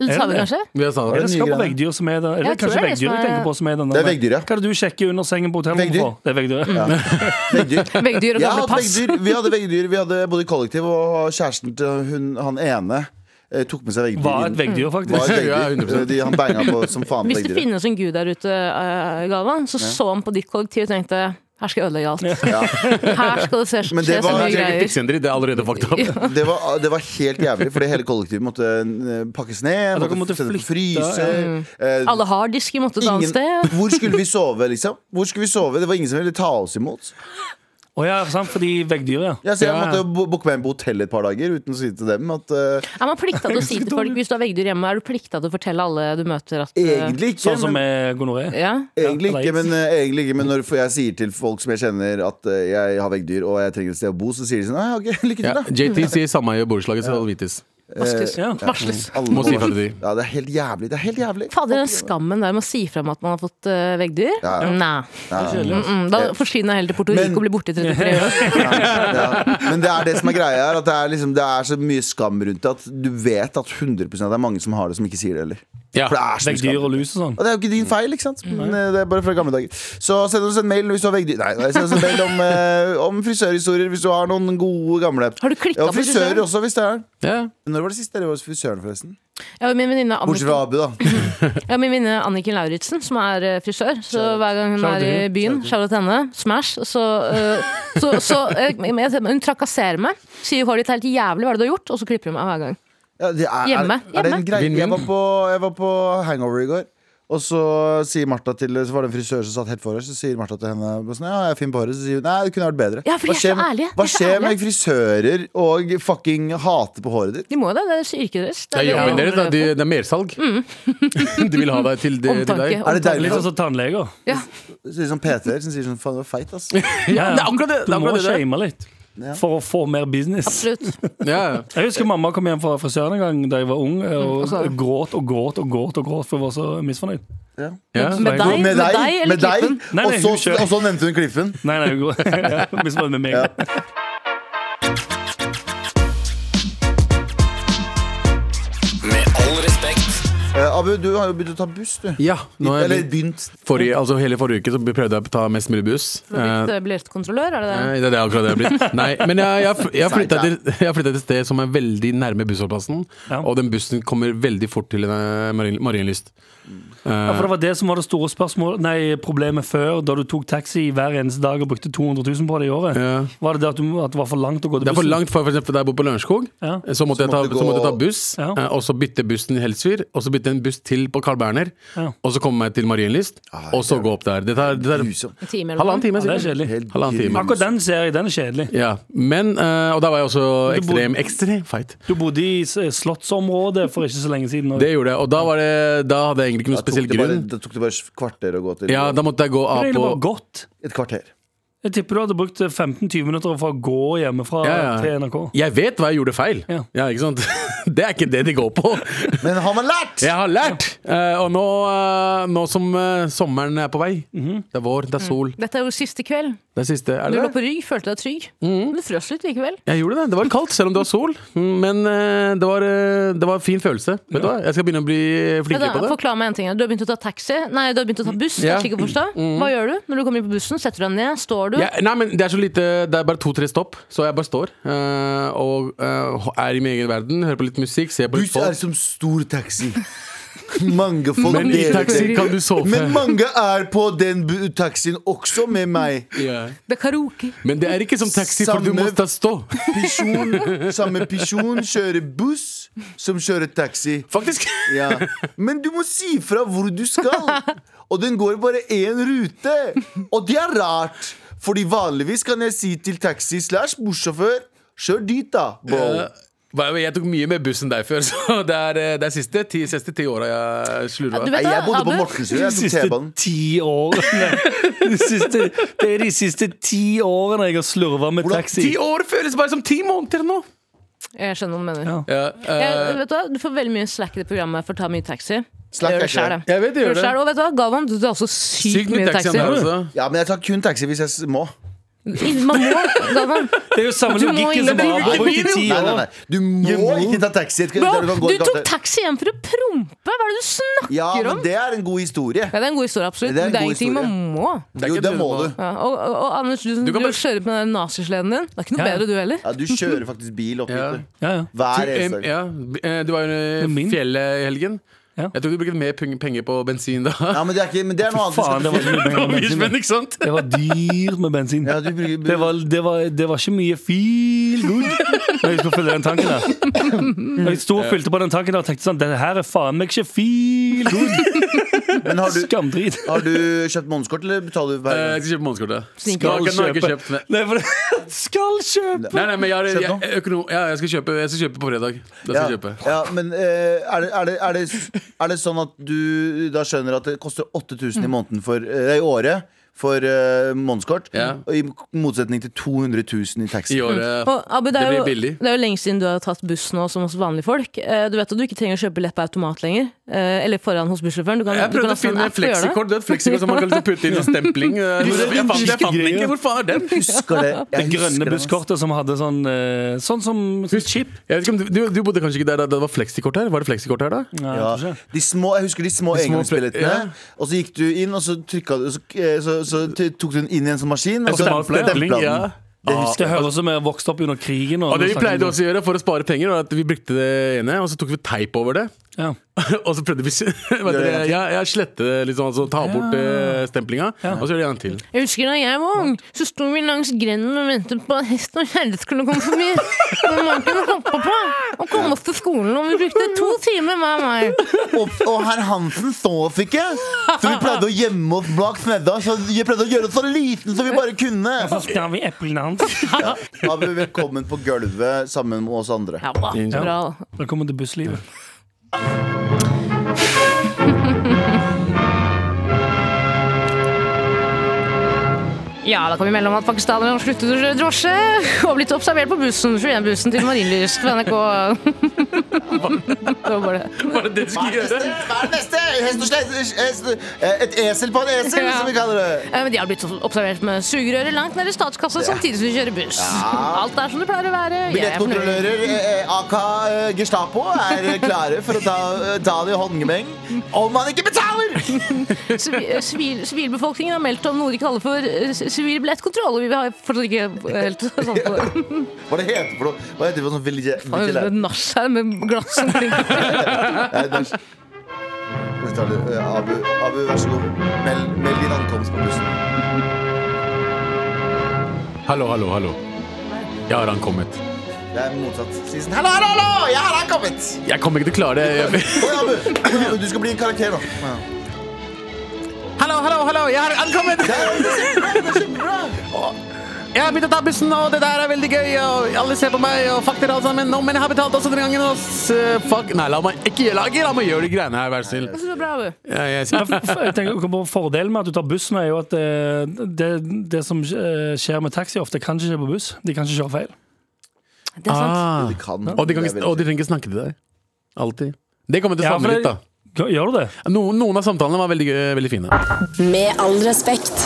E: Eller
C: Er
E: tabbe,
C: det det?
E: kanskje.
D: Vi er sånn.
C: Er det
B: nye
C: skabb og
B: greier.
C: veggdyr som er den? Er det
E: Jeg tror det er
C: kanskje
E: det
C: veggdyr
E: som
C: du
E: er-
C: tenker på som er den?
B: Det er
C: der?
B: veggdyr, ja.
C: Hva er det du sjekker under sengen på hotellrommet
B: Veggdyr.
C: for? Det er veggdyr. Ja.
B: Veggdyr.
E: Veggdyr og
B: Jeg
E: gamle
B: hadde
E: pass.
B: veggdyr. Vi hadde veggdyr. Vi hadde både kollektiv og kjæresten til hun, han ene eh, tok med seg veggdyr.
C: Var
B: inn.
C: et veggdyr,
B: Var
C: faktisk.
B: et
D: Ja,
B: veggdyr.
D: 100%.
B: De, han banga på som faen
E: Hvis det
B: veggdyret.
E: finnes en gud der ute, eh, Galvan, så så han på ditt kollektiv og tenkte Her skal jeg ødelegge alt. Her skal det se
B: Men det
E: skje
B: var-
E: sånne
B: det er
E: greier.
D: Piksendri, det er allerede fucked up.
B: Det var, det var helt jævlig, fordi hele kollektivet måtte eh, pakkes ned.
C: dere måtte
B: sende på
C: flytte,
B: fryse. eh,
E: Mm. Alle harddisker måtte et annet
B: ingen,
E: sted.
B: hvor skulle vi sove, liksom? Hvor skulle vi sove? Det var ingen som ville ta oss imot.
C: Å ja, sant, fordi veggdyr, ja.
B: Jeg, så jeg
C: Ja,
B: måtte
C: ja.
B: jo bo- booke meg inn på hotell et par dager uten å si til dem at eh,
E: Er man plikta til å si til folk hvis du har veggdyr hjemme, er du plikta til å fortelle alle du møter at eh,
B: Egentlig ikke.
C: Sånn som
B: men,
C: med gonoré.
E: Ja.
B: egentlig,
C: Ja,
B: ikke
C: eller
B: men, eh, egentlig ikke, men når for jeg sier til folk som jeg kjenner at eh, jeg har veggdyr og jeg trenger et sted å bo, så sier de sånn «Ah, ok, lykke
D: Ja,
B: til, da.
D: JT sier samme i borettslaget, så det vites.
E: Vaskes.
C: Ja.
E: Varsles.
B: Alle
D: Må si fra
B: bare-
D: til de.
B: Ja, det er helt jævlig. Det er helt jævlig.
E: Fader, den skammen der med å si fra om at man har fått eh, veggdyr.
B: Ja, ja.
E: Nei.
C: Kjedelig.
E: Mm, da forsvinner jeg heller til Porto
B: Men-
E: Rico og blir borte i 33 år.
B: Ja. Men det er det som er greia her, at det er, liksom, det er så mye skam rundt det at du vet at 100 det er mange som har det, som ikke sier det heller.
D: Ja.
B: For det er så mye
C: Veggdyr
B: skam.
C: og lus og sånn.
B: Og det er jo ikke din feil, ikke sant? Men eh, det er bare fra gamle dager. Så send oss en mail hvis du har veggdyr Nei, nei, send oss en mail om, eh, om frisørhistorier hvis du har noen gode, gamle.
E: Har du klikket
B: ja,
E: på
B: frisører
E: frisøren?
B: også, hvis det er.
D: Ja.
B: Når var det sist dere var hos frisøren, forresten?
E: Jeg og min venninne
B: Bortsett
E: Anniken,
B: fra Abu, da.
E: jeg og min venninne Anniken Lauritzen, som er eh, frisør. Så hver gang hun
D: Shout out
E: er i
D: til hun.
E: byen, shout out til henne, smash. Så, eh, så, så eh, men jeg, men hun trakasserer meg. Sier håret ditt er helt jævlig, hva er det du har gjort? Og så klipper hun meg hver gang.
B: Ja, det er,
E: Hjemme.
B: Er, er det en
E: Hjemme.
B: greie?
D: Vinn-vinn.
B: Jeg var, på, jeg var på hangover i går. Og så sier Martha til Så var det en frisør som satt helt for oss. Så sier Martha til henne bare sånn, Ja, jeg er fin på håret. Så sier hun nei, det kunne vært bedre.
E: Ja, for de er så
B: med-
E: ærlige. De
B: hva
E: er så
B: skjer
E: ærlige.
B: med frisører og fucking hater på håret ditt?
E: De må jo det, det er deres yrket deres.
D: Det er jobben
E: det
D: deres, da.
E: de-
D: De- Det er mersalg. De vil ha deg til, de, til
E: Omtanke.
D: deg.
B: Er det
C: Litt
B: deilig?
C: sånn som tannleger.
E: Ja.
B: Så sier sånn PT-er som sier sånn faen, du er feit, ass. Ja,
C: Ja,
D: det er akkurat det- det er
C: Du må
D: akkurat det der.
C: shame litt for å få mer business.
E: Absolutt.
D: Ja.
C: Jeg husker mamma kom hjem fra frisøren en gang da jeg var ung,
D: Mm,
C: og
E: så-
C: gråt og gråt og gråt, og gråt for jeg var så misfornøyd.
D: Ja.
E: Med deg, med deg eller
B: med deg.
E: klippen?
C: Nei,
B: Og
C: nei, hun
B: så
C: kjører.
B: og så nevnte hun Kliffen.
C: Nei, nei, hun gråt. Ja, misfornøyd med meg.
H: Med all respekt.
B: Eh, Abu, du har jo begynt å ta buss, du.
D: ja. Nå har jeg
B: Eller
D: begynt-
B: begynt.
D: forrige, altså hele forrige uke så prøvde jeg å ta mest mulig buss. Eh,
E: Blitt, blitt kontrollør, er det det?
D: Nei, det er det akkurat det jeg har blitt. Nei, men jeg, jeg, jeg, har flyttet til, jeg har flyttet til et sted som er veldig nærme bussholdeplassen.
C: Ja.
D: Og den bussen kommer veldig fort til eh, Marien- Marienlyst.
C: Ja, for det var det som var det store spørsmål Nei, problemet før, da du tok taxi hver eneste dag og brukte 200 000 på det i året.
D: Ja.
C: Var det det at, du, at det var for langt å gå til
D: Det er for
C: bussen?
D: langt for, for eksempel der jeg bor på Lørenskog. Eh,
C: Ja.
D: Så, måtte jeg ta,
B: måtte du
D: så
B: gå-
D: måtte jeg ta buss,
C: Ja.
D: eh, og så bytte bussen i Helsfyr. Og så bytte en buss til på Carl Berner.
C: Ja.
D: Og så komme meg til Marienlyst, og så gå opp der. Det tar, det tar
B: Grusomt.
E: En time eller noe?
D: halvannen time.
C: Ja, det er
D: sikkert.
C: kjedelig.
B: Helt
D: Halvannen time.
B: grusomt.
C: Akkurat den ser jeg, den er kjedelig.
D: Ja, men, eh, Og da var jeg også
C: Du bor-
D: ekstrem, ekstrem feit.
C: Du bodde i s- slottsområdet for ikke så lenge siden. og-
D: Det gjorde jeg, og da, var det, da hadde jeg egentlig ikke
B: Da
D: noen
B: tok
D: spesiell
B: det bare,
D: grunn.
B: da tok det bare et kvarter å gå til
D: Ja, Da måtte jeg gå av
C: det er egentlig
D: på
C: bare godt.
B: Et kvarter.
C: Jeg tipper du hadde brukt 15-20 minutter for å gå hjemmefra
D: Ja, ja.
C: til NRK.
D: Jeg vet hva jeg gjorde feil. Ja.
C: Ja.
D: ikke sant? Det er ikke det de går på.
B: Men har man lært?
D: Jeg har lært! Eh, og nå, eh, nå som eh, sommeren er på vei
C: Mhm.
D: Det er vår, det er sol.
E: Dette er jo siste kveld.
D: Det er siste. Er
E: Du lå
D: det?
E: på rygg, følte deg trygg. Men du frøs litt likevel.
D: Jeg gjorde det. Det var kaldt, selv om det var sol. Men eh, det, var, eh, det var en fin følelse. Vet du hva? Jeg skal begynne å bli
E: Ja, da,
D: flinkere på det.
E: forklar meg en ting. Du har begynt å ta taxi. Nei, du har begynt å ta buss.
D: Ja.
E: Det er slik å forstå. Hva gjør du når du kommer inn på bussen? Setter du deg ned? Står du?
D: Ja, nei, men Det er så lite Det er bare to-tre stopp, så jeg bare står. eh, og eh, er i min egen verden. Hører på litt musikk, ser på litt
B: Buss er
D: folk.
B: som stor taxi. Mange folk
D: Men i
B: deler
D: taxi
B: det.
D: kan du sove.
B: Men mange er på den bu- taxien også med meg.
D: Ja.
E: Det er karaoke.
D: Men det er ikke som taxi, for du
B: Samme-
D: må ta stå.
B: Pisjon, samme pisjon kjører buss som kjører taxi.
D: Faktisk!
B: Ja. Men du må si fra hvor du skal. Og den går bare én rute. Og det er rart, Fordi vanligvis kan jeg si til taxi slash bussjåfør Kjør dit, da, bro.
D: Hva- Jeg tok mye mer buss enn deg før, så det er, eh, det er siste ti, siste ti åra jeg slurva.
E: Du
B: Nei,
E: vet
B: jeg
E: da,
B: bodde på
E: Abu.
B: Mortensrud. Jeg
C: De
B: tok
C: siste
B: T-banen.
C: ti årene. De siste, det er de siste ti årene jeg har slurva med
B: Hvordan-
C: taxi.
D: Ti år føles bare som ti måneder nå!
E: Jeg skjønner hva du mener.
C: Ja.
D: Ja,
E: Jeg,
D: eh,
E: vet du, hva? du får veldig mye slack i det programmet for å ta mye taxi.
B: Slack
E: Gjør
B: er
E: det selv,
B: ikke det.
E: det.
D: jeg vet jeg
E: Gjør
D: gjør
E: det selv.
D: det.
E: Og vet du hva? Galvan, du tar også sykt,
D: Sykt mye
E: mye
D: taxi altså.
E: taxi.
D: der også.
B: Ja, men jeg tar kun taxi hvis jeg s- må.
E: Man må, Galvan.
C: Det er jo samme
E: Du må
C: logikken som
E: ikke-
C: var
E: Det blir
C: brukt i ti
B: Nei, nei,
C: år.
B: nei. Du må ikke ta taxi. et-
E: Bro,
B: der kan gå
E: du
B: i
E: tok
B: gater.
E: taxi hjem for å prompe! Hva er det du snakker
B: Ja,
E: om?
B: men det er en god historie.
E: Ja, det er en god historie, absolutt.
B: Det er en
E: men Det er
B: god
E: ingenting man må.
D: er
B: Jo,
D: ikke
B: det
D: det
B: må
D: du må.
B: du.
E: Ja, og, og, og Anders, du,
D: Du
E: du
D: kan bare-
E: kjører på den der nazisleden din. Det er ikke noe
C: Ja.
E: bedre, du heller.
B: Ja, du kjører faktisk bil opp hit.
D: Ja.
B: du.
C: Ja, ja.
B: Hver
D: Du,
B: eneste
D: em,
B: dag.
D: ja, eh, du var jo i
C: Min.
D: fjellet i helgen.
C: Ja.
D: Jeg tror du brukte mer pung- penger på bensin da.
B: Ja, men det er, ikke, men det er noe annet.
C: Faen, det var så mye
D: Det var
C: penger
D: mye
C: med bensin.
D: spenn, ikke sant? Eh,
C: Det var dyrt med bensin.
B: Ja, du bruker-
C: det, var, det, var, det var ikke mye feel good når jeg skulle fylle den tanken der. Når jeg sto og fylte på den tanken der og tenkte sånn Dette her er faen meg ikke feel good.
B: Men har du,
C: Skamdrit.
B: har du kjøpt månedskort, eller betaler du
D: Eh,
B: hver gang?
D: Jeg skal kjøpe månedskortet.
E: Sneaker.
D: Nå har jeg ikke kjøpt det.
C: Nei, for det- skal kjøpe!
D: Nei, nei, men jeg, jeg,
B: Kjøp nå.
D: jeg, økonom, ja, jeg, skal kjøpe, jeg skal kjøpe på fredag. Da skal
B: Ja,
D: jeg kjøpe.
B: ja, men eh, er, det, er, det, er, det, er det sånn at du da skjønner at det koster 8000 i måneden for, eh, i året for eh, månedskort?
D: Ja.
B: Og I motsetning til 200 000 i taxi.
D: I eh. året
E: Mm. Og, Abu, det, er
D: Det
E: jo,
D: blir billig.
E: det er jo lenge siden du har tatt buss nå, som oss vanlige folk. Eh, Du vet at du ikke trenger å kjøpe billett på automat lenger. eh, Eller foran hos bussjåføren. Du kan-
D: Jeg
E: du kan
D: prøvde å
E: også ha en
D: finne
E: app
D: et
E: for å gjøre det.
D: fleksikort. Det er et fleksikort som man kan liksom putte inn sånn stempling. eh, Jeg
C: Det er
D: fant, jeg fant, jeg fant den ikke! Hvor faen er den?
B: Husker det?
C: Det
B: Jeg husker
C: grønne
B: det, ass.
C: busskortet som hadde sånn eh, Sånn som sånn chip.
D: Jeg vet ikke om du, du, du bodde kanskje ikke der da det var fleksikort her? Var det fleksikort her da?
C: Nei, jeg tror
B: Ja.
C: ikke.
B: De små, jeg husker de små
D: De små
B: engangsbillettene.
D: fle- ja.
B: Og så gikk du inn, og så, trykket du, så, eh, så, så t- tok du den inn i en sånn maskin. Og så
D: Stempling,
B: stempla
D: ja.
B: den. Det husker
C: Ah, Det høres ut som jeg vokste opp under krigen.
D: Og det vi
C: nå snakker
D: pleide
C: vi om-
D: også å gjøre for å spare penger, var at vi brukte det ene, og så tok vi teip over det.
C: ja.
D: og så prøvde vi vet
B: det en
D: dere,
B: gang til.
D: jeg, jeg slette det litt sånn, altså, ta bort eh, stemplinga, og så gjør det en gang til.
E: Jeg husker da jeg var ung, så sto vi langs grenden og ventet på at hest og kjerre skulle komme forbi. Men man kunne hoppe på og komme oss til skolen, og vi brukte to timer hver vei.
B: Og, og herr Hansen så oss ikke! Så vi pleide å gjemme oss bak snedda. Så vi pleide å gjøre oss så liten som vi bare kunne.
C: Så skal vi eplene hans.
B: Ja. Da ble vi velkommen på gulvet sammen med oss andre.
E: Ja, bra. bra.
C: Velkommen til busslivet.
E: Ja, da kan vi melde om at pakistanere har sluttet å kjøre drosje og blitt observert på bussen, 21-bussen til Marienlyst på NRK. Det var bare det.
D: Var det det du skulle gjøre?
B: Hva er det neste? Hest og slett, hest, eh, et esel på en esel,
E: Ja.
B: som vi kaller det.
E: Eh, Men de har blitt observert med sugerøret langt ned i statskassa samtidig som de kjører buss. Alt er som det pleier å være. Jeg er fornøyd.
B: Billettkontrollører, eh, AK eh, Gestapo, er klare for å ta eh, Dali håndgemeng om han ikke betaler!
E: Sivi- eh, sivil- Sivilbefolkningen har meldt om noe de kaller for eh, sivil billettkontroll. Og vi har fortsatt ikke helt sånn på det.
B: Hva det heter for noe? Hva heter det for noe? Vil ikke, vil ikke
E: Det er
B: lære.
E: Nach her med glass omkring.
B: Nei, det er- Vi tar det. Eh, Abu, Abu, vær så god. Meld, meld din ankomst på bussen.
D: Hallo, hallo, hallo. Jeg har ankommet.
B: Det er motsatt. Si sånn Hallo, hallo, hallo! Jeg har ankommet!
D: Jeg kommer ikke til å klare det. Jeg-
B: Oi, Abu, Oi, Abu, du skal bli en karakter nå. Ja.
D: Hallo, hallo, hallo, jeg har ankommet! Og Jeg har begynt å ta bussen, og det der er veldig gøy. Og alle ser på meg, og fuck dere alle sammen. Nå, men jeg har betalt også denne gangen, og s- fuck Nei, la meg ikke gjøre det. La meg gjøre de greiene her, vær snill.
E: Så bra, Abu.
D: Ja, jeg
C: Nei,
D: sier-
C: for- for- jeg tenker på Fordelen med at du tar bussen, er jo at eh, det, det som eh, skjer med taxi, ofte kan ikke skje på buss. De kan ikke kjøre feil.
E: Det er
D: Ah.
E: sant.
B: De kan.
D: Og de,
B: Det er
D: kan, ikke-
B: veldig-
D: og de trenger ikke snakke til deg. Alltid. Det kommer til å
C: Ja,
D: savne
C: for
D: litt, da.
C: Gjør du det?
D: Noen, noen av samtalene var veldig, gøy- veldig fine.
A: Med all respekt.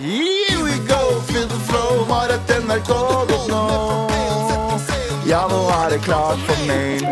B: Here we go, feel the flow, Marit NRK.no. Ja, nå er det klart for mail.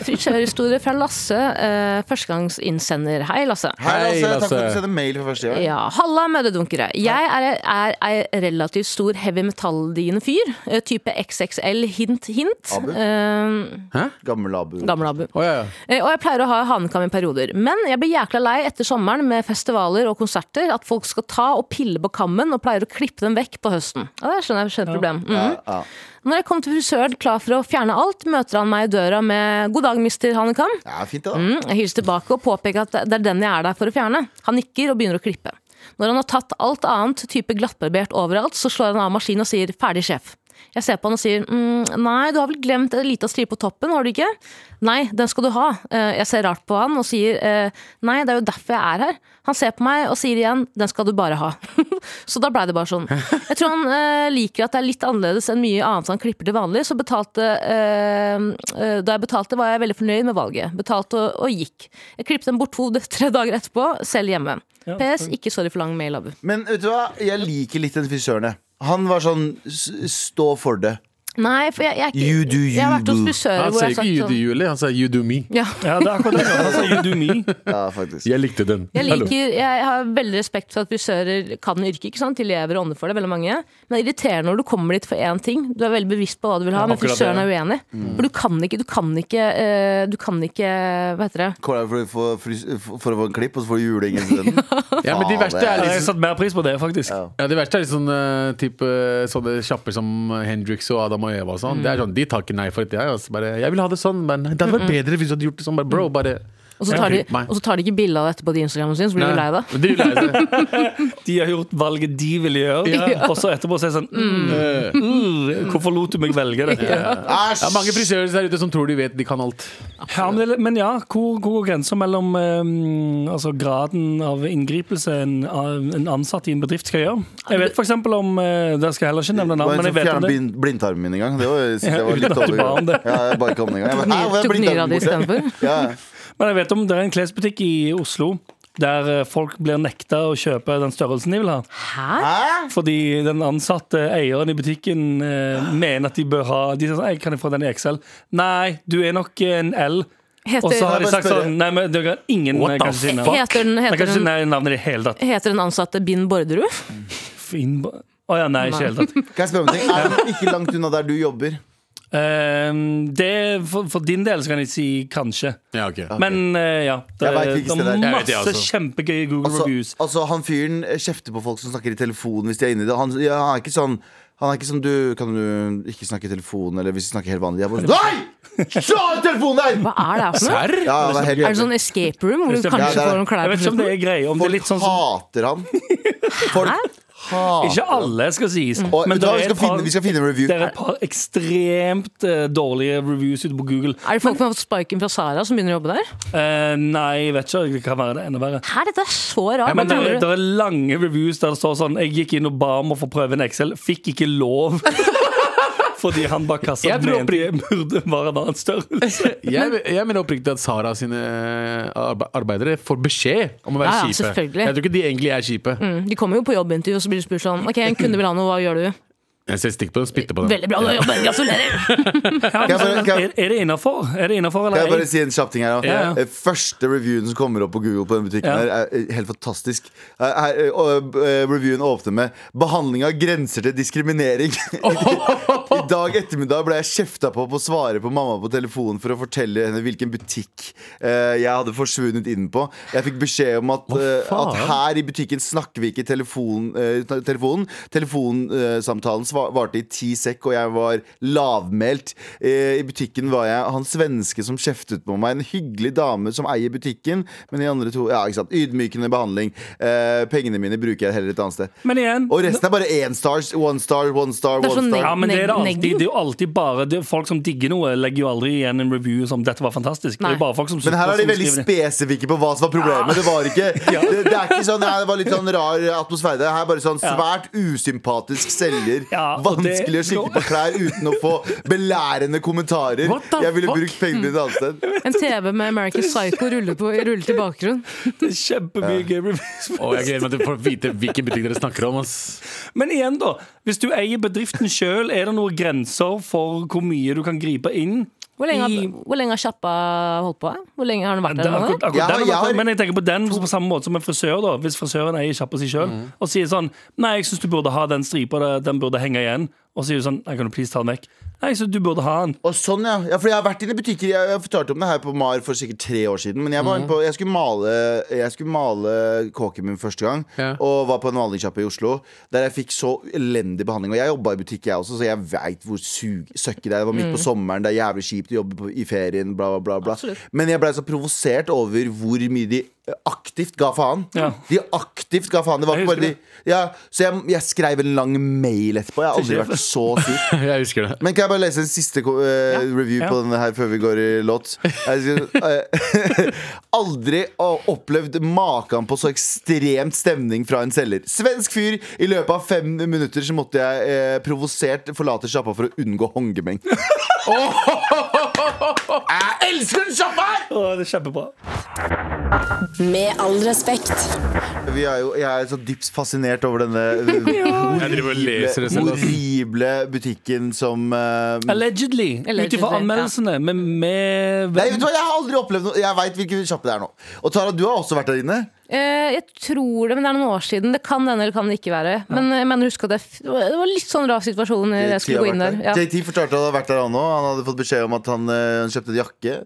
E: Frisørhistorie fra Lasse, eh, førstegangsinnsender. Hei, Lasse.
B: Hei,
D: Hei,
B: Lasse. Takk for at
D: Lasse.
B: du sendte mail for første gang.
E: Ja, Halla, mødredunkere. Jeg er, er ei relativt stor heavy metal-diende fyr. eh, Type XXL, hint, hint.
B: Abu?
E: Eh,
B: Gammel abu.
E: Gammel Abu.
D: Å, ja, ja.
E: Eh, Og jeg pleier å ha hanekam i perioder. Men jeg blir jækla lei etter sommeren med festivaler og konserter at folk skal ta og pille på kammen og pleier å klippe den vekk på høsten. Ja, det skjønner jeg skjønner problem. Mhm.
B: ja.
E: Når jeg kommer til frisøren klar for å fjerne alt, møter han meg i døra med 'god dag, mister hanekam'.
B: Ja, fint det da.
E: Mm, Jeg hilser tilbake og påpeker at det er den jeg er der for å fjerne. Han nikker og begynner å klippe. Når han har tatt alt annet, type glattbarbert overalt, så slår han av maskinen og sier 'ferdig, sjef'. Jeg ser på han og sier mm, 'nei, du har vel glemt en liten stripe på toppen, har du ikke?' 'Nei, den skal du ha'. Eh, Jeg ser rart på han og sier eh, 'nei, det er jo derfor jeg er her'. Han ser på meg og sier igjen 'den skal du bare ha'. så da blei det bare sånn. Jeg tror han eh, liker at det er litt annerledes enn mye annet han klipper til vanlig, så betalte eh, eh, Da jeg betalte, var jeg veldig fornøyd med valget. Betalte og, og gikk. Jeg klippet den bort to-tre dager etterpå, selv hjemme. PS. Ikke sorry for lang mail, Abu.
B: Men vet du hva? Jeg liker litt den frisøren. jeg. Han var sånn s- stå for det.
E: Nei, for jeg, jeg, er ikke-
B: You do
E: jeg har vært hos
B: you.
E: frisører
D: Han
E: hvor
D: sa
E: jeg
D: ikke
E: har sagt
D: 'you do
E: sånn
D: you, Julie', han sa 'you do me'.
E: ja.
C: Ja, det er akkurat det. Altså, you do me.
B: Ja, faktisk.
D: Jeg likte den.
E: Jeg
D: Hallo.
E: liker, jeg har veldig respekt for at frisører kan yrket. ikke sant? De lever og ånder for det, veldig mange. Men det er irriterende når du kommer dit for én ting. Du er veldig bevisst på hva du vil ha, men
C: akkurat
E: frisøren
C: det. Mm.
E: er uenig. For du kan ikke, du kan ikke, eh, du kan ikke Hva heter det?
B: Kommer deg for, for, frys- for å få en klipp, og så får du juling isteden.
D: Ja, men de verste er
C: Ja,
D: liksom
C: Jeg har satt mer pris på det, faktisk.
D: Ja, Det verste er litt sånn eh, type, sånne kjapper som eh, Hendrix og Adam og Eva. og sånn Det er sånn, De tar ikke nei for et jeg. Altså, bare, jeg vil ha det sånn, men det hadde vært bedre hvis du hadde gjort det sånn. Bare, bro, bare
E: Og så
D: Ja,
E: tar de,
D: meg.
E: og så tar de ikke bilde av det etterpå på Instagramen sin, så blir du lei deg.
D: Nei, blir lei deg.
C: De har gjort valget de ville gjøre, og så etterpå så er det sånn mm, uh, Hvorfor lot du meg velge dette?
D: Eh, Det er mange frisører der ute som tror de vet de kan alt.
C: Ja, men, det- men ja, hvor, hvor går grensa mellom eh, altså graden av inngripelse en, av- en ansatt i en bedrift skal gjøre? Jeg vet f.eks. om eh, Det skal jeg heller ikke nevne
B: Det var
C: navn,
B: en
C: men
B: som
C: jeg vet om
B: fjernet
C: det.
B: blind- blindtarmen min en gang. Det var, jeg synes jeg var
C: Ja, uten
B: litt
C: at du
B: dårlig.
C: ba om det.
B: Ja, jeg ba ikke om det engang. Jeg bare, "Hæ,
E: Tok ny-
B: hvor er
E: Tok nyra
B: blindtarmen
E: di
B: borte?"
E: istedenfor.
B: Ja, ja.
C: Men jeg vet om det er en klesbutikk i Oslo der eh, folk blir nekta å kjøpe den størrelsen de vil ha.
E: Hæ?
C: Fordi den ansatte eieren i butikken eh, mener at de bør ha De sier sånn, «Ei, kan jeg få den i XL? Nei, du er nok en L. Og så
E: Heter,
C: har de sagt sånn Nei, men dere har ingen
D: What the
C: kan ikke si navn.
E: heter, den,
C: Jeg kan
E: heter,
C: ikke si
E: den,
C: nei- navnet i det hele tatt.
E: heter den ansatte Bind Borderud?
C: Finn Å ja, nei, ikke i det hele tatt.
B: Kan jeg spørre om en ting? Er den ikke langt unna der du jobber?
C: Ehm, det, for, for din del så kan jeg si kanskje.
D: Ja, ok
C: Men eh, ja. Det,
B: Jeg vet ikke
C: det
B: det der.
C: er
D: Jeg vet det,
C: masse
D: altså.
C: kjempegøye Google
B: Altså,
C: reviews.
B: altså Han fyren kjefter på folk som snakker i telefonen hvis de er inne i det. Han, ja, han er ikke sånn han er ikke sånn du, Kan du ikke snakke i telefonen? Eller hvis du snakker helt vanlig? Jeg bare, Nei! Slå av telefonen der!
E: Hva er det her for noe?
D: Serr?
B: Ja, det er helt
E: Er det
B: jævlig.
E: sånn escape room hvor du
C: Ja,
E: kanskje
B: det er
E: får
B: det.
E: noen klær
C: Jeg
E: på
C: vet ikke om det
E: slutten?
C: er greie. Om det er
B: Folk
C: litt sånn som
B: hater han. Folk hater Mm.
C: Ikke alle skal sies,
B: Og,
C: men
B: vet du
C: det
B: hva, vi,
C: er,
B: skal
C: et
B: finne, vi skal
C: par,
B: finne en review.
C: det er et par ekstremt eh, dårlige reviews ute på Google.
E: Er det folk som har fått sparken fra Sara som begynner å jobbe der?
C: Eh, nei, jeg vet ikke. Det kan være det enda verre.
E: Hæ, dette er så rart.
C: Men det
E: Hva
C: er,
E: tror du?
C: det er lange reviews der det står sånn Jeg gikk inn og ba om å få prøve en Excel, fikk ikke lov. Fordi han bak kassa
D: Jeg tror
C: mente jeg burde være en annen størrelse.
D: Jeg, jeg mener oppriktig at Sara sine eh, arbe- arbeidere får beskjed om å være
E: Ja, ja,
D: kjipe.
E: selvfølgelig.
D: Jeg tror ikke de egentlig er kjipe.
E: Mm, De kommer jo på jobbintervju, og så blir du spurt sånn Ok, en kunde vil ha noe, hva gjør du?
D: Jeg ser stikk på den, spytter på den.
E: Veldig bra, du har jobben, gratulerer!
B: Kan jeg bare, kan
C: Er,
B: jeg,
C: er det innafor? Er det innafor
B: kan jeg
C: eller
B: bare
C: ei?
B: si en kjapp ting her da?
C: Ja, ja.
B: Eh, Første reviewen som kommer opp på Google på den butikken
C: Ja.
B: her, er eh, helt fantastisk. Eh, Her, eh, og, eh, reviewen åpner med 'Behandling av grenser til diskriminering'. I dag ettermiddag ble jeg kjefta på på å svare på mamma på telefonen for å fortelle henne hvilken butikk eh, jeg hadde forsvunnet inn på. Jeg fikk beskjed om at, eh,
D: faen?
B: at her i butikken snakker vi ikke telefon, eh, ta- telefonen. Telefonsamtalen sva- varte i ti sekk, og jeg var lavmælt. Eh, I butikken var jeg han svenske som kjeftet på meg. En hyggelig dame som eier butikken, men de andre to Ja, ikke sant. Ydmykende behandling. Eh, pengene mine bruker jeg heller et annet sted.
C: Men igjen
B: Og resten er bare én stars, one star, one star,
E: Det er
B: one
E: sånn
B: star.
C: ja, men det er, det, alltid,
E: Neglen?
C: det er jo alltid bare det er Folk som digger noe, legger jo aldri igjen en review som 'dette var fantastisk'. Det
E: Nei.
C: er jo bare folk som
B: Men her
C: sutter
B: er de
C: som
B: veldig
C: skriver det.
B: spesifikke på hva som var problemet. Det var ikke det, det er ikke sånn, nei, det var litt sånn rar atmosfære. Det her er bare sånn svært usympatisk selger.
C: Ja, og det-
B: vanskelig å skikke på klær uten å få belærende kommentarer.
D: What the
B: Jeg ville
D: fuck?
B: brukt pengene mine et annet sted.
E: En TV med American Psycho ruller, på, ruller til bakgrunn.
C: Det er kjempemye gøy reviews.
D: Å, jeg gleder meg til å få vite hvilken butikk dere snakker om. Ass.
C: Men igjen, da. Hvis du eier bedriften sjøl, er det noen grenser for hvor mye du kan gripe inn?
E: Hvor lenge,
C: I-
E: har- hvor lenge har kjappa holdt på? Hvor lenge har den vært
C: Det er
E: der? nå?
C: akkurat, akkurat
B: Jeg har- jeg
C: den, er akkurat-
B: har-
C: Men jeg tenker på den på samme måte som en frisør. da Hvis frisøren eier kjappa si sjøl og sier sånn Nei, jeg syns du burde ha den stripa, der, den burde henge igjen. Og så sier du sånn Nei, kan du please ta den vekk? Nei, så du burde ha den.
B: Og sånn, ja. ja for jeg har vært inne i butikker Jeg, jeg fortalte om det her på Mar for sikkert tre år siden. Men jeg, var inne på, jeg skulle male Jeg skulle male kåken min første gang.
D: Ja.
B: Og var på en malingssjappe i Oslo der jeg fikk så elendig behandling. Og jeg jobba i butikk, jeg også, så jeg veit hvor sug søkket det er. Det var midt på sommeren, det er jævlig kjipt å jobbe på, i ferien, bla, bla, bla. bla. Men jeg blei så provosert over hvor mye de eh, aktivt ga faen.
C: Ja.
B: De aktivt ga faen. Det var
C: Jeg
B: ikke bare de
C: husker
B: ja, Så jeg, jeg skrev en lang mail etterpå. Jeg har aldri vært så sur.
D: Jeg husker det.
B: Men kan jeg bare lese en siste ko- eh, review på denne her før vi går i låt? Jeg skal, eh, aldri å- opplevd maken på så ekstremt stemning fra en selger. Svensk fyr. I løpet av fem minutter så måtte jeg eh, provosert forlate sjappa for å unngå håndgemeng.
D: Jeg elsker den sjappa her!
C: Og det er kjempebra.
I: Med all respekt.
B: Vi er jo, jeg er så dypt fascinert over denne eh, horrible,
D: og leser det selv, altså.
B: horrible butikken som eh,
C: Allegedly. Ut
E: Allegedly,
C: ifra
E: ja.
C: anmeldelsene. Men med
B: Nei, vet du hva, Jeg har aldri opplevd noe Jeg veit hvilken sjappe det er nå. Og Tara, du har også vært der inne.
E: Eh, jeg tror det, men det er noen år siden. Det kan denne eller kan det ikke være. Men jeg mener, husk at det, f- det var litt sånn rar situasjon da jeg skulle gå inn der. Ja.
B: JT fortalte at han hadde vært der han òg. Han hadde fått beskjed om at han, eh, han kjøpte en jakke,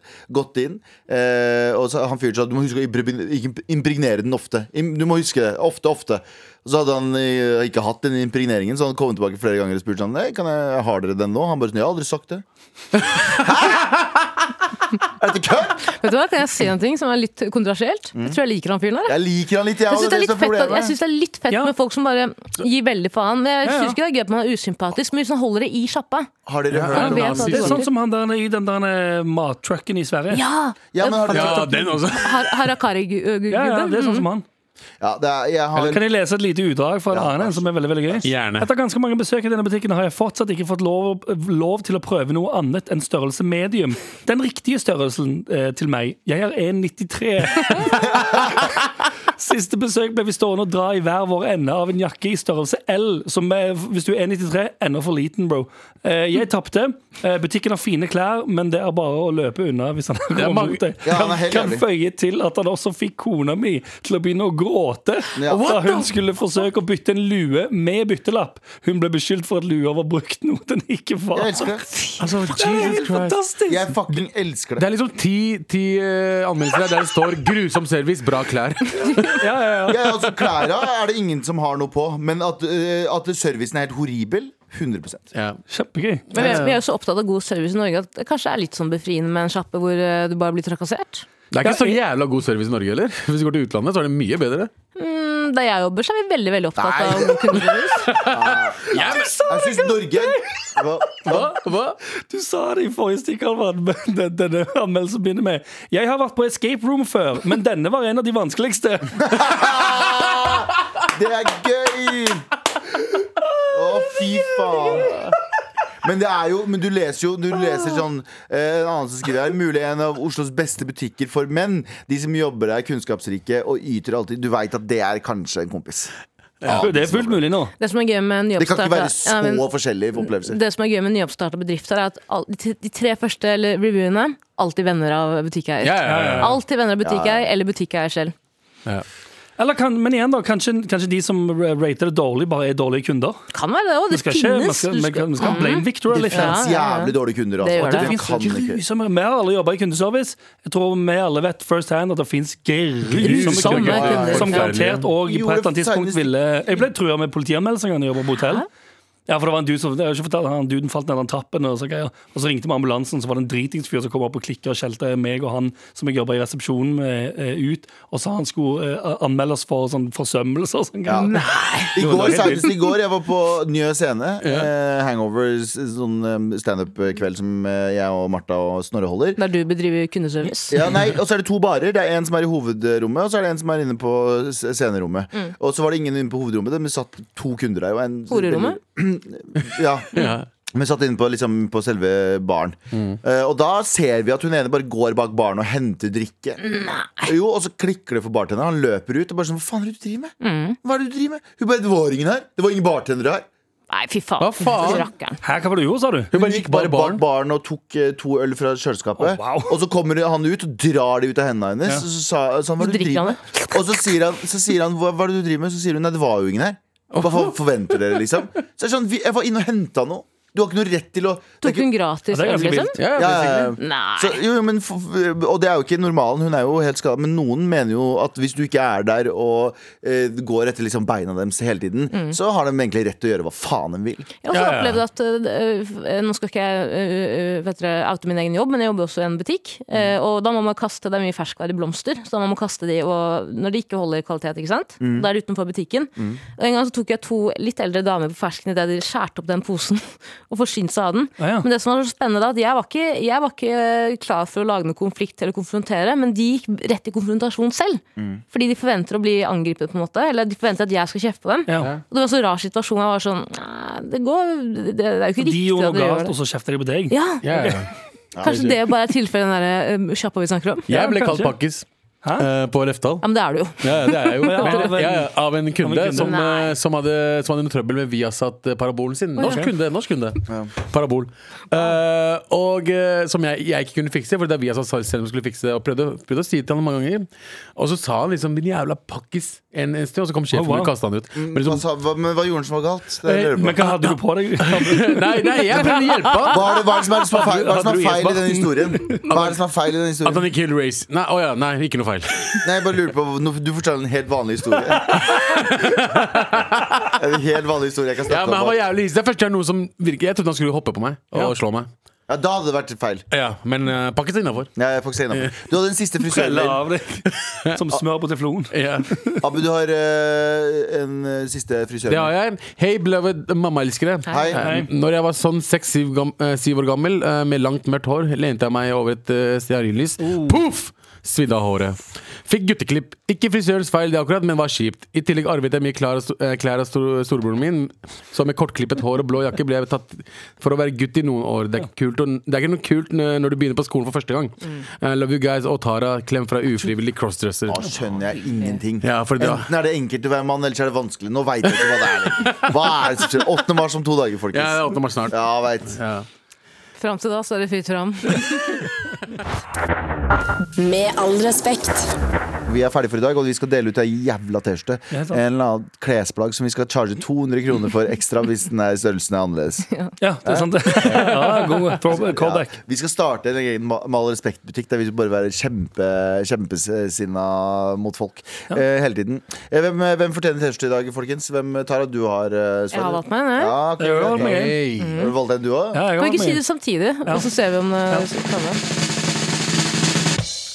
B: gått inn. Eh, og så han fyren sa du må huske å impregne- impregnere den ofte. Im- Du må huske det, ofte, ofte. Og så hadde han eh, ikke hatt den impregneringen, så han kom tilbake flere ganger og spurte sånn, «Nei, kan jeg har dere den nå. Han bare sånn, jeg har aldri sagt det. Hæ? Er dette kødd?
E: Vet du hva, Kan jeg si en ting som er litt kontrasielt? Jeg tror jeg liker han fyren der. jeg.
B: Jeg liker han litt, jeg.
E: Jeg
B: og
E: syns Mm. det, er
B: er
E: litt
B: som er
E: fett at- jeg
B: problemet.
E: synes det er litt fett
C: Ja.
E: med folk som bare gir veldig faen. Men jeg
C: Ja, ja.
E: syns ikke det er gøy at man er usympatisk, men hvis man holder det i sjappa
B: Har dere
E: Ja,
B: hørt
E: jeg vet
B: om
E: hva
C: Det er sånn
E: du
C: som han der i den der mattrucken i Sverige.
E: Ja!
B: Ja, men har du
D: Ja, den også.
E: Har- Harakari-gubben.
C: Ja, ja, det
E: mm.
C: er sånn som han.
B: Ja, det er, jeg har
C: Kan jeg lese et lite utdrag fra en annen en som er veldig, veldig gøy?
D: Gjerne.
C: Etter ganske mange besøk i denne butikken har jeg fortsatt ikke fått lov, lov til å prøve noe annet enn størrelse medium. Den riktige størrelsen eh, til meg. Jeg er 1,93. Siste besøk ble vi stående og dra i hver vår ende av en jakke i størrelse L, som er, hvis du er 1,93, ennå for liten, bro. Eh, jeg tapte. Eh, butikken har fine klær, men det er bare å løpe unna hvis han
D: er
C: kommer
D: mange-
C: mot deg.
B: Ja, han er
C: Kan,
B: helt
C: kan
B: jævlig.
C: føye til at han også fikk kona mi til å begynne å gråte
B: Ja.
C: da hun skulle forsøke å bytte en lue med byttelapp. Hun ble beskyldt for at lua var brukt noe den ikke var.
B: Jeg elsker det.
D: Altså,
C: Det er
D: Jesus
C: helt
D: Christ.
C: fantastisk!
B: Jeg fucking elsker
D: Det
B: det.
D: er liksom ti, ti eh, anmeldelser der det står 'grusom service, bra klær'.
C: Ja, ja, ja.
B: Ja, altså, Klæra er det ingen som har noe på, men at, eh, at servicen er helt horribel 100
D: Ja.
C: Kjempegøy.
E: Men vi er, vi er jo så opptatt av god service i Norge at det kanskje er litt sånn befriende med en sjappe hvor eh, du bare blir trakassert.
D: Det er ikke så jævla god service i Norge heller. Hvis du går til utlandet, så er det mye bedre.
E: Mm, Der jeg jobber, så er vi veldig veldig opptatt
B: Nei.
E: av god kundeservice.
B: Jeg syns Norge Hva?
D: Hva? Hva?
C: Du sa det i forrige stikk, Alvar, men den- denne anmeldelsen begynner med Jeg har vært på escape room før, men denne var en av de vanskeligste.
B: Det er gøy! Å, fy faen. Men det er jo, men du leser jo Du leser sånn eh, En annen som skriver her Mulig en av Oslos beste butikker for menn. De som jobber der, er kunnskapsrike og yter alltid. Du veit at det er kanskje en kompis.
C: Det er fullt mulig nå.
E: Det som er gøy med
B: Det kan
E: nyoppstarta
B: ikke være
E: ja, men
B: så forskjellige opplevelser.
E: det som er gøy med nyoppstarta bedrifter, er at all, de, t- de tre første eller, reviewene alltid venner av butikkeier.
D: Ja, ja, ja, ja.
E: Alltid venner av butikkeier eller butikkeier selv.
C: Eller kan, men igjen, da. Kanskje, kanskje de som rater det dårlig, bare er dårlige kunder?
E: Kan være det òg.
C: Vi
E: Det
C: skal ikke man
E: finnes.
C: skal,
E: Du
C: man
E: skal-
C: kan, man skal blame Victoria
B: Det
C: litt. her.
B: fins
E: Ja, ja, ja.
B: jævlig dårlige kunder.
E: Det gjør
B: Altså.
E: det.
B: Det,
C: Det
B: kan ikke
C: finnes grusomme Vi har alle jobba i kundeservice. Jeg tror vi alle vet first hand at det fins grusomme
E: Grusomme kunder.
C: kunder. Som garantert og på et eller annet tidspunkt
B: Gjorde
C: ville Jeg ble trua med politianmeldelse en gang jeg jobba på hotell. Ja, for det var en dude som, jeg har ikke fortalt, han Duden falt ned den trappen, og så, greier. og så ringte vi ambulansen. Så var det en dritings fyr som kom opp og klikka og skjelte meg og han som jeg jobba i resepsjonen med, eh, ut, og sa han skulle eh, anmelde oss for sånn forsømmelse og sånn. greier.
B: I
C: det var
B: går,
C: helt
B: senest i går, jeg var på Njø scene. Eh, hangover, s- sånn eh, standup-kveld som eh, jeg og Martha og Snorre holder.
E: Der du bedriver kundeservice.
B: Ja, nei, og så er det to barer. Det er en som er i hovedrommet, og så er det en som er inne på s- scenerommet. Og så var det ingen inne på hovedrommet, men det satt to kunder der. og en-
E: Horerommet?
B: Ja. Men satt inne på, liksom, på selve baren. Eh, og da ser vi at hun ene bare går bak baren og henter drikke. Jo, Og så klikker det for bartenderen. Han løper ut og bare sånn Hva faen er det du driver med? Hva er det du driver med? Hun bare Det var ingen her. Det var ingen bartendere her.
E: Nei, fy faen.
D: Hva faen?
E: Rakkeren.
C: Hæ, hva var det du gjorde, sa du?
B: Hun
D: bare
B: gikk
D: gikk
B: bare
D: bak
B: bak
D: baren.
B: baren og tok eh, to øl fra kjøleskapet.
C: Å, wow.
B: Og så kommer han ut og drar det ut av hendene hennes. Og så, sa, så, han, hva er det
E: Så
B: du
E: drikker
B: driver med? og så sier han, så sier han hva, hva er det du driver med? Så sier hun nei, det var jo ingen her. Hva for- forventer dere, liksom? Så jeg, er sånn, vi- jeg var inne og henta noe. Du har ikke noe rett til å det er
E: Tok
B: ikke,
E: hun gratis
C: Ja, det er
E: øl,
C: ganske
E: liksom?
C: vilt.
D: Ja,
B: ja,
D: ja,
B: ja, ja.
E: Nei.
B: så, jo, jo, men, f- f- og det er jo ikke normalen. Hun er jo helt skadet. Men noen mener jo at hvis du ikke er der og eh, går etter liksom beina deres hele tiden, så har de egentlig rett til å gjøre hva faen de vil.
E: Jeg har også
C: Ja, ja,
E: opplevd
C: ja.
E: at øh, øh, Nå skal ikke jeg øh, øh, vet dere, oute min egen jobb, men jeg jobber også i en butikk.
C: Mm.
E: øh, og da må man kaste det er mye ferskvare i blomster. Så da må man kaste de og, når de ikke holder kvalitet. ikke sant?
C: Mm.
E: Da er det utenfor butikken. Og En gang så tok jeg to litt eldre damer på fersken idet de skjærte opp den posen og forsynte seg av den.
C: Ja, ja.
E: Men det som var så spennende da, at jeg var, ikke, jeg var ikke eh, klar for å lage noe konflikt eller konfrontere, men de gikk rett i konfrontasjon selv.
C: Mm.
E: Fordi de forventer å bli angrepet, på en måte. Eller de forventer at jeg skal kjefte på dem.
C: Ja.
E: Og det var så rar situasjon. Jeg var sånn «Nei, Det går Det, det er jo ikke
C: De
E: riktig
C: gjorde
E: at
C: noe
E: dere gjør
C: galt,
E: det.
C: og så kjefter de på deg.
E: Ja,
D: ja, ja.
E: Kanskje det bare er tilfellet den der um, sjappa vi snakker om?
D: Jeg ble
C: Ja,
D: kalt
C: kanskje.
D: pakkis
C: Hæ?
D: eh, på Reftal.
E: Ja, men det er det jo.
D: Ja, ja, det er jeg jo.
C: Ja, av en-
D: ja, ja, av en kunde,
C: kunde.
D: Som,
E: Nei.
D: eh, som, hadde, som hadde noe trøbbel med Viasat-parabolen sin. Norsk
C: Ok.
D: kunde. norsk kunde Parabol. Eh, og eh, Som jeg, jeg ikke kunne fikse, Fordi det er Viasat selv som skulle fikse det. Og prøvde, prøvde å si det til han mange ganger. Og så sa han liksom 'din jævla pakkis' en, en stund, og så kom sjefen
C: Oh, wow.
D: min og kasta han ut. Men
B: Hva
D: liksom,
B: sa- hva- Men hva gjorde han som var galt? Det
C: Eh,
B: lurer jeg på.
C: Men hva hadde du på deg?
D: nei, nei, jeg prøvde å hjelpe han!
B: Hva er det hva er det som er- som er feil, hva er det som er
C: Hadde du
B: feil i denne
C: gjest
B: historien? Hva er det som er feil i denne
D: At
B: historien?
D: han ikke vil race. Nei, å ja, nei, ikke noe feil.
B: Nei, jeg bare lurer på nå- Du forteller en helt vanlig historie. En helt vanlig historie jeg kan
D: Ja,
B: snakke
D: men han var
B: om.
D: jævlig hissig. Det er første gang noen som virker Jeg trodde han skulle hoppe på meg og
C: Ja.
D: slå meg.
B: Ja, da hadde det vært feil.
D: Ja, Men uh, pakket seg innafor.
B: Nei, jeg får ikke si noe. Du hadde den siste frisøren
C: Prelle
B: din.
C: av deg som smør på teflon.
D: Ja.
B: Abu, du har eh, en eh, siste frisør.
D: Det har jeg. Hei, beloved mammaelskere.
B: Hei.
D: Hei. Eh, Når jeg var sånn seks-syv år gammel, eh, med langt mørkt hår, lente jeg meg over et eh, stearinlys.
B: Oh.
D: Poff! Svidde av håret. Fikk gutteklipp. Ikke frisørens feil, det akkurat, men var kjipt. I tillegg arvet jeg mye klær, av sto- eh, klær av stor, storebroren min, så med kortklippet hår og blå jakke ble jeg tatt for å være gutt i noen år. Det er ikke, kult å, det er ikke noe kult n- når du begynner på skolen for første gang.
B: Mm.
D: Eh, love you guys og Tara. Klem fra ufrivillig crossdresser.
B: Da skjønner jeg ingenting.
D: Ja, for det-
B: Enten er det enkelt å være mann, eller så er det vanskelig. Nå veit jeg ikke hva det er. lenger. Hva er det som skjer? 8. mars om to dager,
D: Ja, det er
B: folkens.
D: 8. mars snart.
B: Ja, veit.
D: Ja.
E: Fram til da så er det fritt fram.
I: Med all respekt.
B: Vi er ferdige for i dag, og vi skal dele ut ei jævla T-skjorte.
C: Ja, sant.
B: En eller annen klesplagg som vi skal charge 200 kroner for ekstra hvis den er størrelsen er annerledes.
C: Ja, det er sant. det. Ja, god throw-
B: Ja,
C: callback.
B: vi skal starte en egen Ma- Med all respekt-butikk der vi bare være kjempe, kjempesinna mot folk eh, hele tiden. Eh, hvem, hvem fortjener T-skjorte i dag, folkens? Hvem Tara, du har eh,
E: Jeg har
B: svaret?
E: valgt meg en, jeg.
B: Ja, ok,
C: Jeg har
B: ok.
C: valgt meg en.
D: Hey.
B: Har du valgt en, du òg?
C: Ja,
E: Kan
C: jeg
E: vi
C: har
E: ikke si
C: med.
E: det samtidig, og så ser vi om det kommer?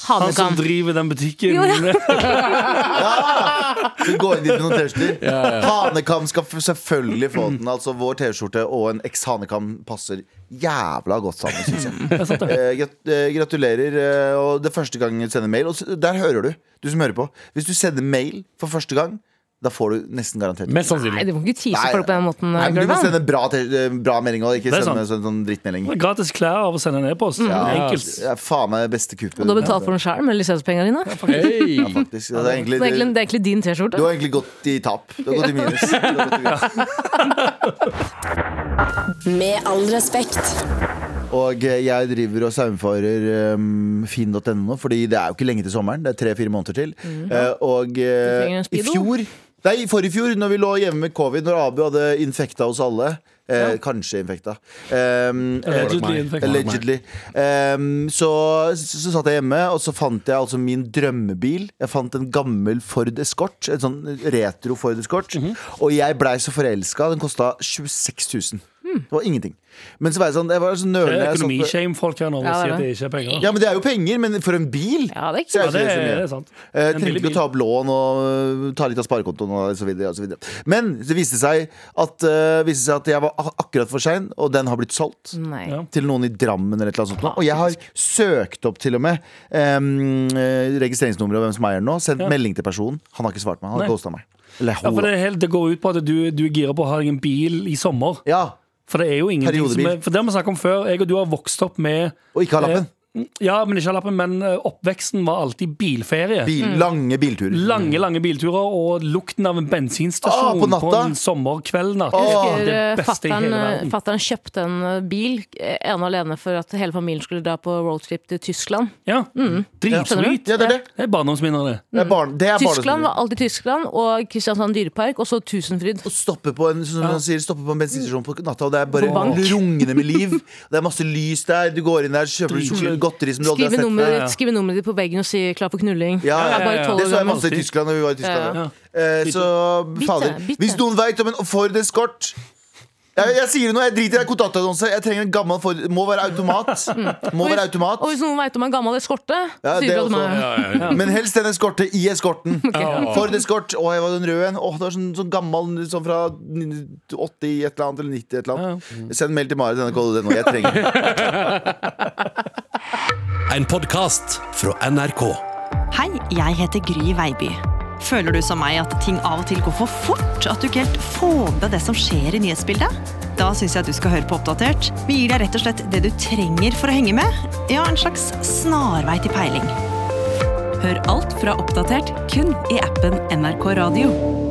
C: Han som
E: Hanekam.
C: driver den butikken.
E: Jo, ja.
B: Du går inn dit med noen T-skjorter.
D: Ja,
B: Hanekam skal f- selvfølgelig få den. Altså Vår T-skjorte og en eks-hanekam passer jævla godt sammen, syns jeg. Eh, grat- eh, gratulerer. eh, Og det er første gang du sender mail. Og s- der hører du, du som hører på. Hvis du sender mail for første gang, da får du nesten garantert
D: Mest sannsynlig.
E: Nei, du må ikke
B: Nei,
E: tease folk på den måten.
B: Nei, men Du må
E: Gulvan.
B: sende bra, te- bra melding og ikke
C: Det er
B: sende
C: sant.
B: sånn, sånn drittmelding.
C: Gratis klær av å sende en e-post. Enkelt.
B: Det er faen meg beste kupet.
E: Og du har betalt for den sjøl med lisenspengene dine. Det
D: Hey.
B: Faktisk. Det er egentlig,
E: er egentlig, det er egentlig din
B: du
E: T-skjorte.
B: har egentlig gått i tap. Du har gått i minus. Du har gått i minus.
I: Med all respekt.
B: Og eh, jeg driver og saumfarer um, finn.no nå, fordi det er jo ikke lenge til sommeren. Det er tre-fire måneder til. Eh, og eh,
E: Mhm. trenger en
B: i
E: speedo.
B: fjor Nei, i forrige fjor, når vi lå hjemme med covid, når Abu hadde infekta oss alle. Eh, Kanskje infekta. Um,
C: Allegedly
B: eh,
C: infekta.
B: Allegedly. Um, så, så, så satt jeg hjemme, og så fant jeg altså min drømmebil. Jeg fant en gammel Ford Escort. En sånn retro Ford Escort. Og jeg blei så forelska. Den kosta 26 000. Det var ingenting. Men så var jeg sånn, jeg var så
C: Det
B: nølende.
C: er
B: jeg satt-
C: økonomishame-folk her nå og
E: Ja, det
C: sier
E: er
C: at det ikke er penger.
B: ja, men det er jo penger, men for en bil
E: Ja,
B: så er
E: det er ikke
C: Ja,
B: det
C: det
B: ikke så
C: er
B: mye.
C: det er sant.
B: Eh,
C: En
B: trenger
C: billig
B: ikke å
C: bil.
B: ta opp lån og eh, ta litt av sparekontoen og så videre, og så videre. Men det viste seg at, eh, viste seg at jeg var ak- akkurat for sein, og den har blitt solgt.
E: Nei.
C: Ja.
B: Til noen i Drammen eller et eller annet sånt. nå. Og jeg har søkt opp til og med um, registreringsnummeret og hvem som eier den nå. Sendt melding til personen. Han har ikke svart meg. Han har
C: Nei.
B: ghosta meg. Eller
C: Ja, for
B: hun.
C: det, er helt, det går ut på at du, du er gira på å ha deg en bil i sommer.
B: Ja,
C: For det er jo ingenting som
B: Periodebil.
C: er, For det har vi snakket om før. Jeg og du har vokst opp med
B: og ikke har lappen.
C: Ja, men ikke har lappen, men eh, oppveksten var alltid bilferie.
B: Bil, Lange bilturer.
C: Lange, lange bilturer og lukten av en
B: Åh,
C: bensinstasjon
B: Ah, på natta.
C: en sommerkveld. Natt.
B: Åh.
C: Det er det
E: Husker
C: beste i hele verden.
E: eh, fattern kjøpte en eh, bil eh, ene og alene for at hele familien skulle dra på roadtrip til Tyskland.
C: Ja.
E: Mm.
C: Dritsweet.
B: Ja, det er det.
C: Det er barndomsminner, det.
B: Det er barn, det er sånn- barneskoler.
E: Tyskland var alltid Tyskland, og Kristiansand dyrepark, og så Tusenfryd.
B: stoppe på en, som han sier, stoppe på en bensinstasjon på natta, og det er bare
C: På bank.
B: rungende med liv. Det er masse lys der, du går inn der, kjøper
C: Dritkult.
B: sjokolade- godteri som du aldri har
E: Skrive
B: sett
E: nummeret
B: før.
C: ja.
E: ditt skrive nummeret ditt på veggen og si 'klar for knulling'.
B: Ja, ja,
E: Det er bare
C: ja, ja.
E: tolv
B: Det så
E: år
B: jeg
E: gammel.
B: masse i Tyskland når vi var i Tyskland.
E: Ja.
B: Eh, så fader.
E: Bitte, bitte.
B: Hvis noen veit om en Ford Escort jeg, jeg sier det nå, jeg driter i kontaktannonse. Jeg trenger en gammel Ford. Må være automat. Må være automat.
E: Mm. Og hvis noen veit om en gammel eskorte,
B: Ja,
E: sier
B: det
E: du at de
B: også.
E: er
B: Men helst en eskorte i eskorten. Ford Escort. Å, jeg var den røde en. Å, det var sånn, sånn gammel sånn fra 80 et eller annet, eller 90 et eller annet. Send mail til Marit NRK.no. Jeg trenger den.
J: En podkast fra NRK.
K: Hei, jeg heter Gry Veiby.
J: Føler du som meg at ting av og til går for fort? At du ikke helt får med deg det som skjer i nyhetsbildet? Da syns jeg at du skal høre på Oppdatert. Vi gir deg rett og slett det du trenger for å henge med. Ja, en slags snarvei til peiling. Hør alt fra Oppdatert kun i appen NRK Radio.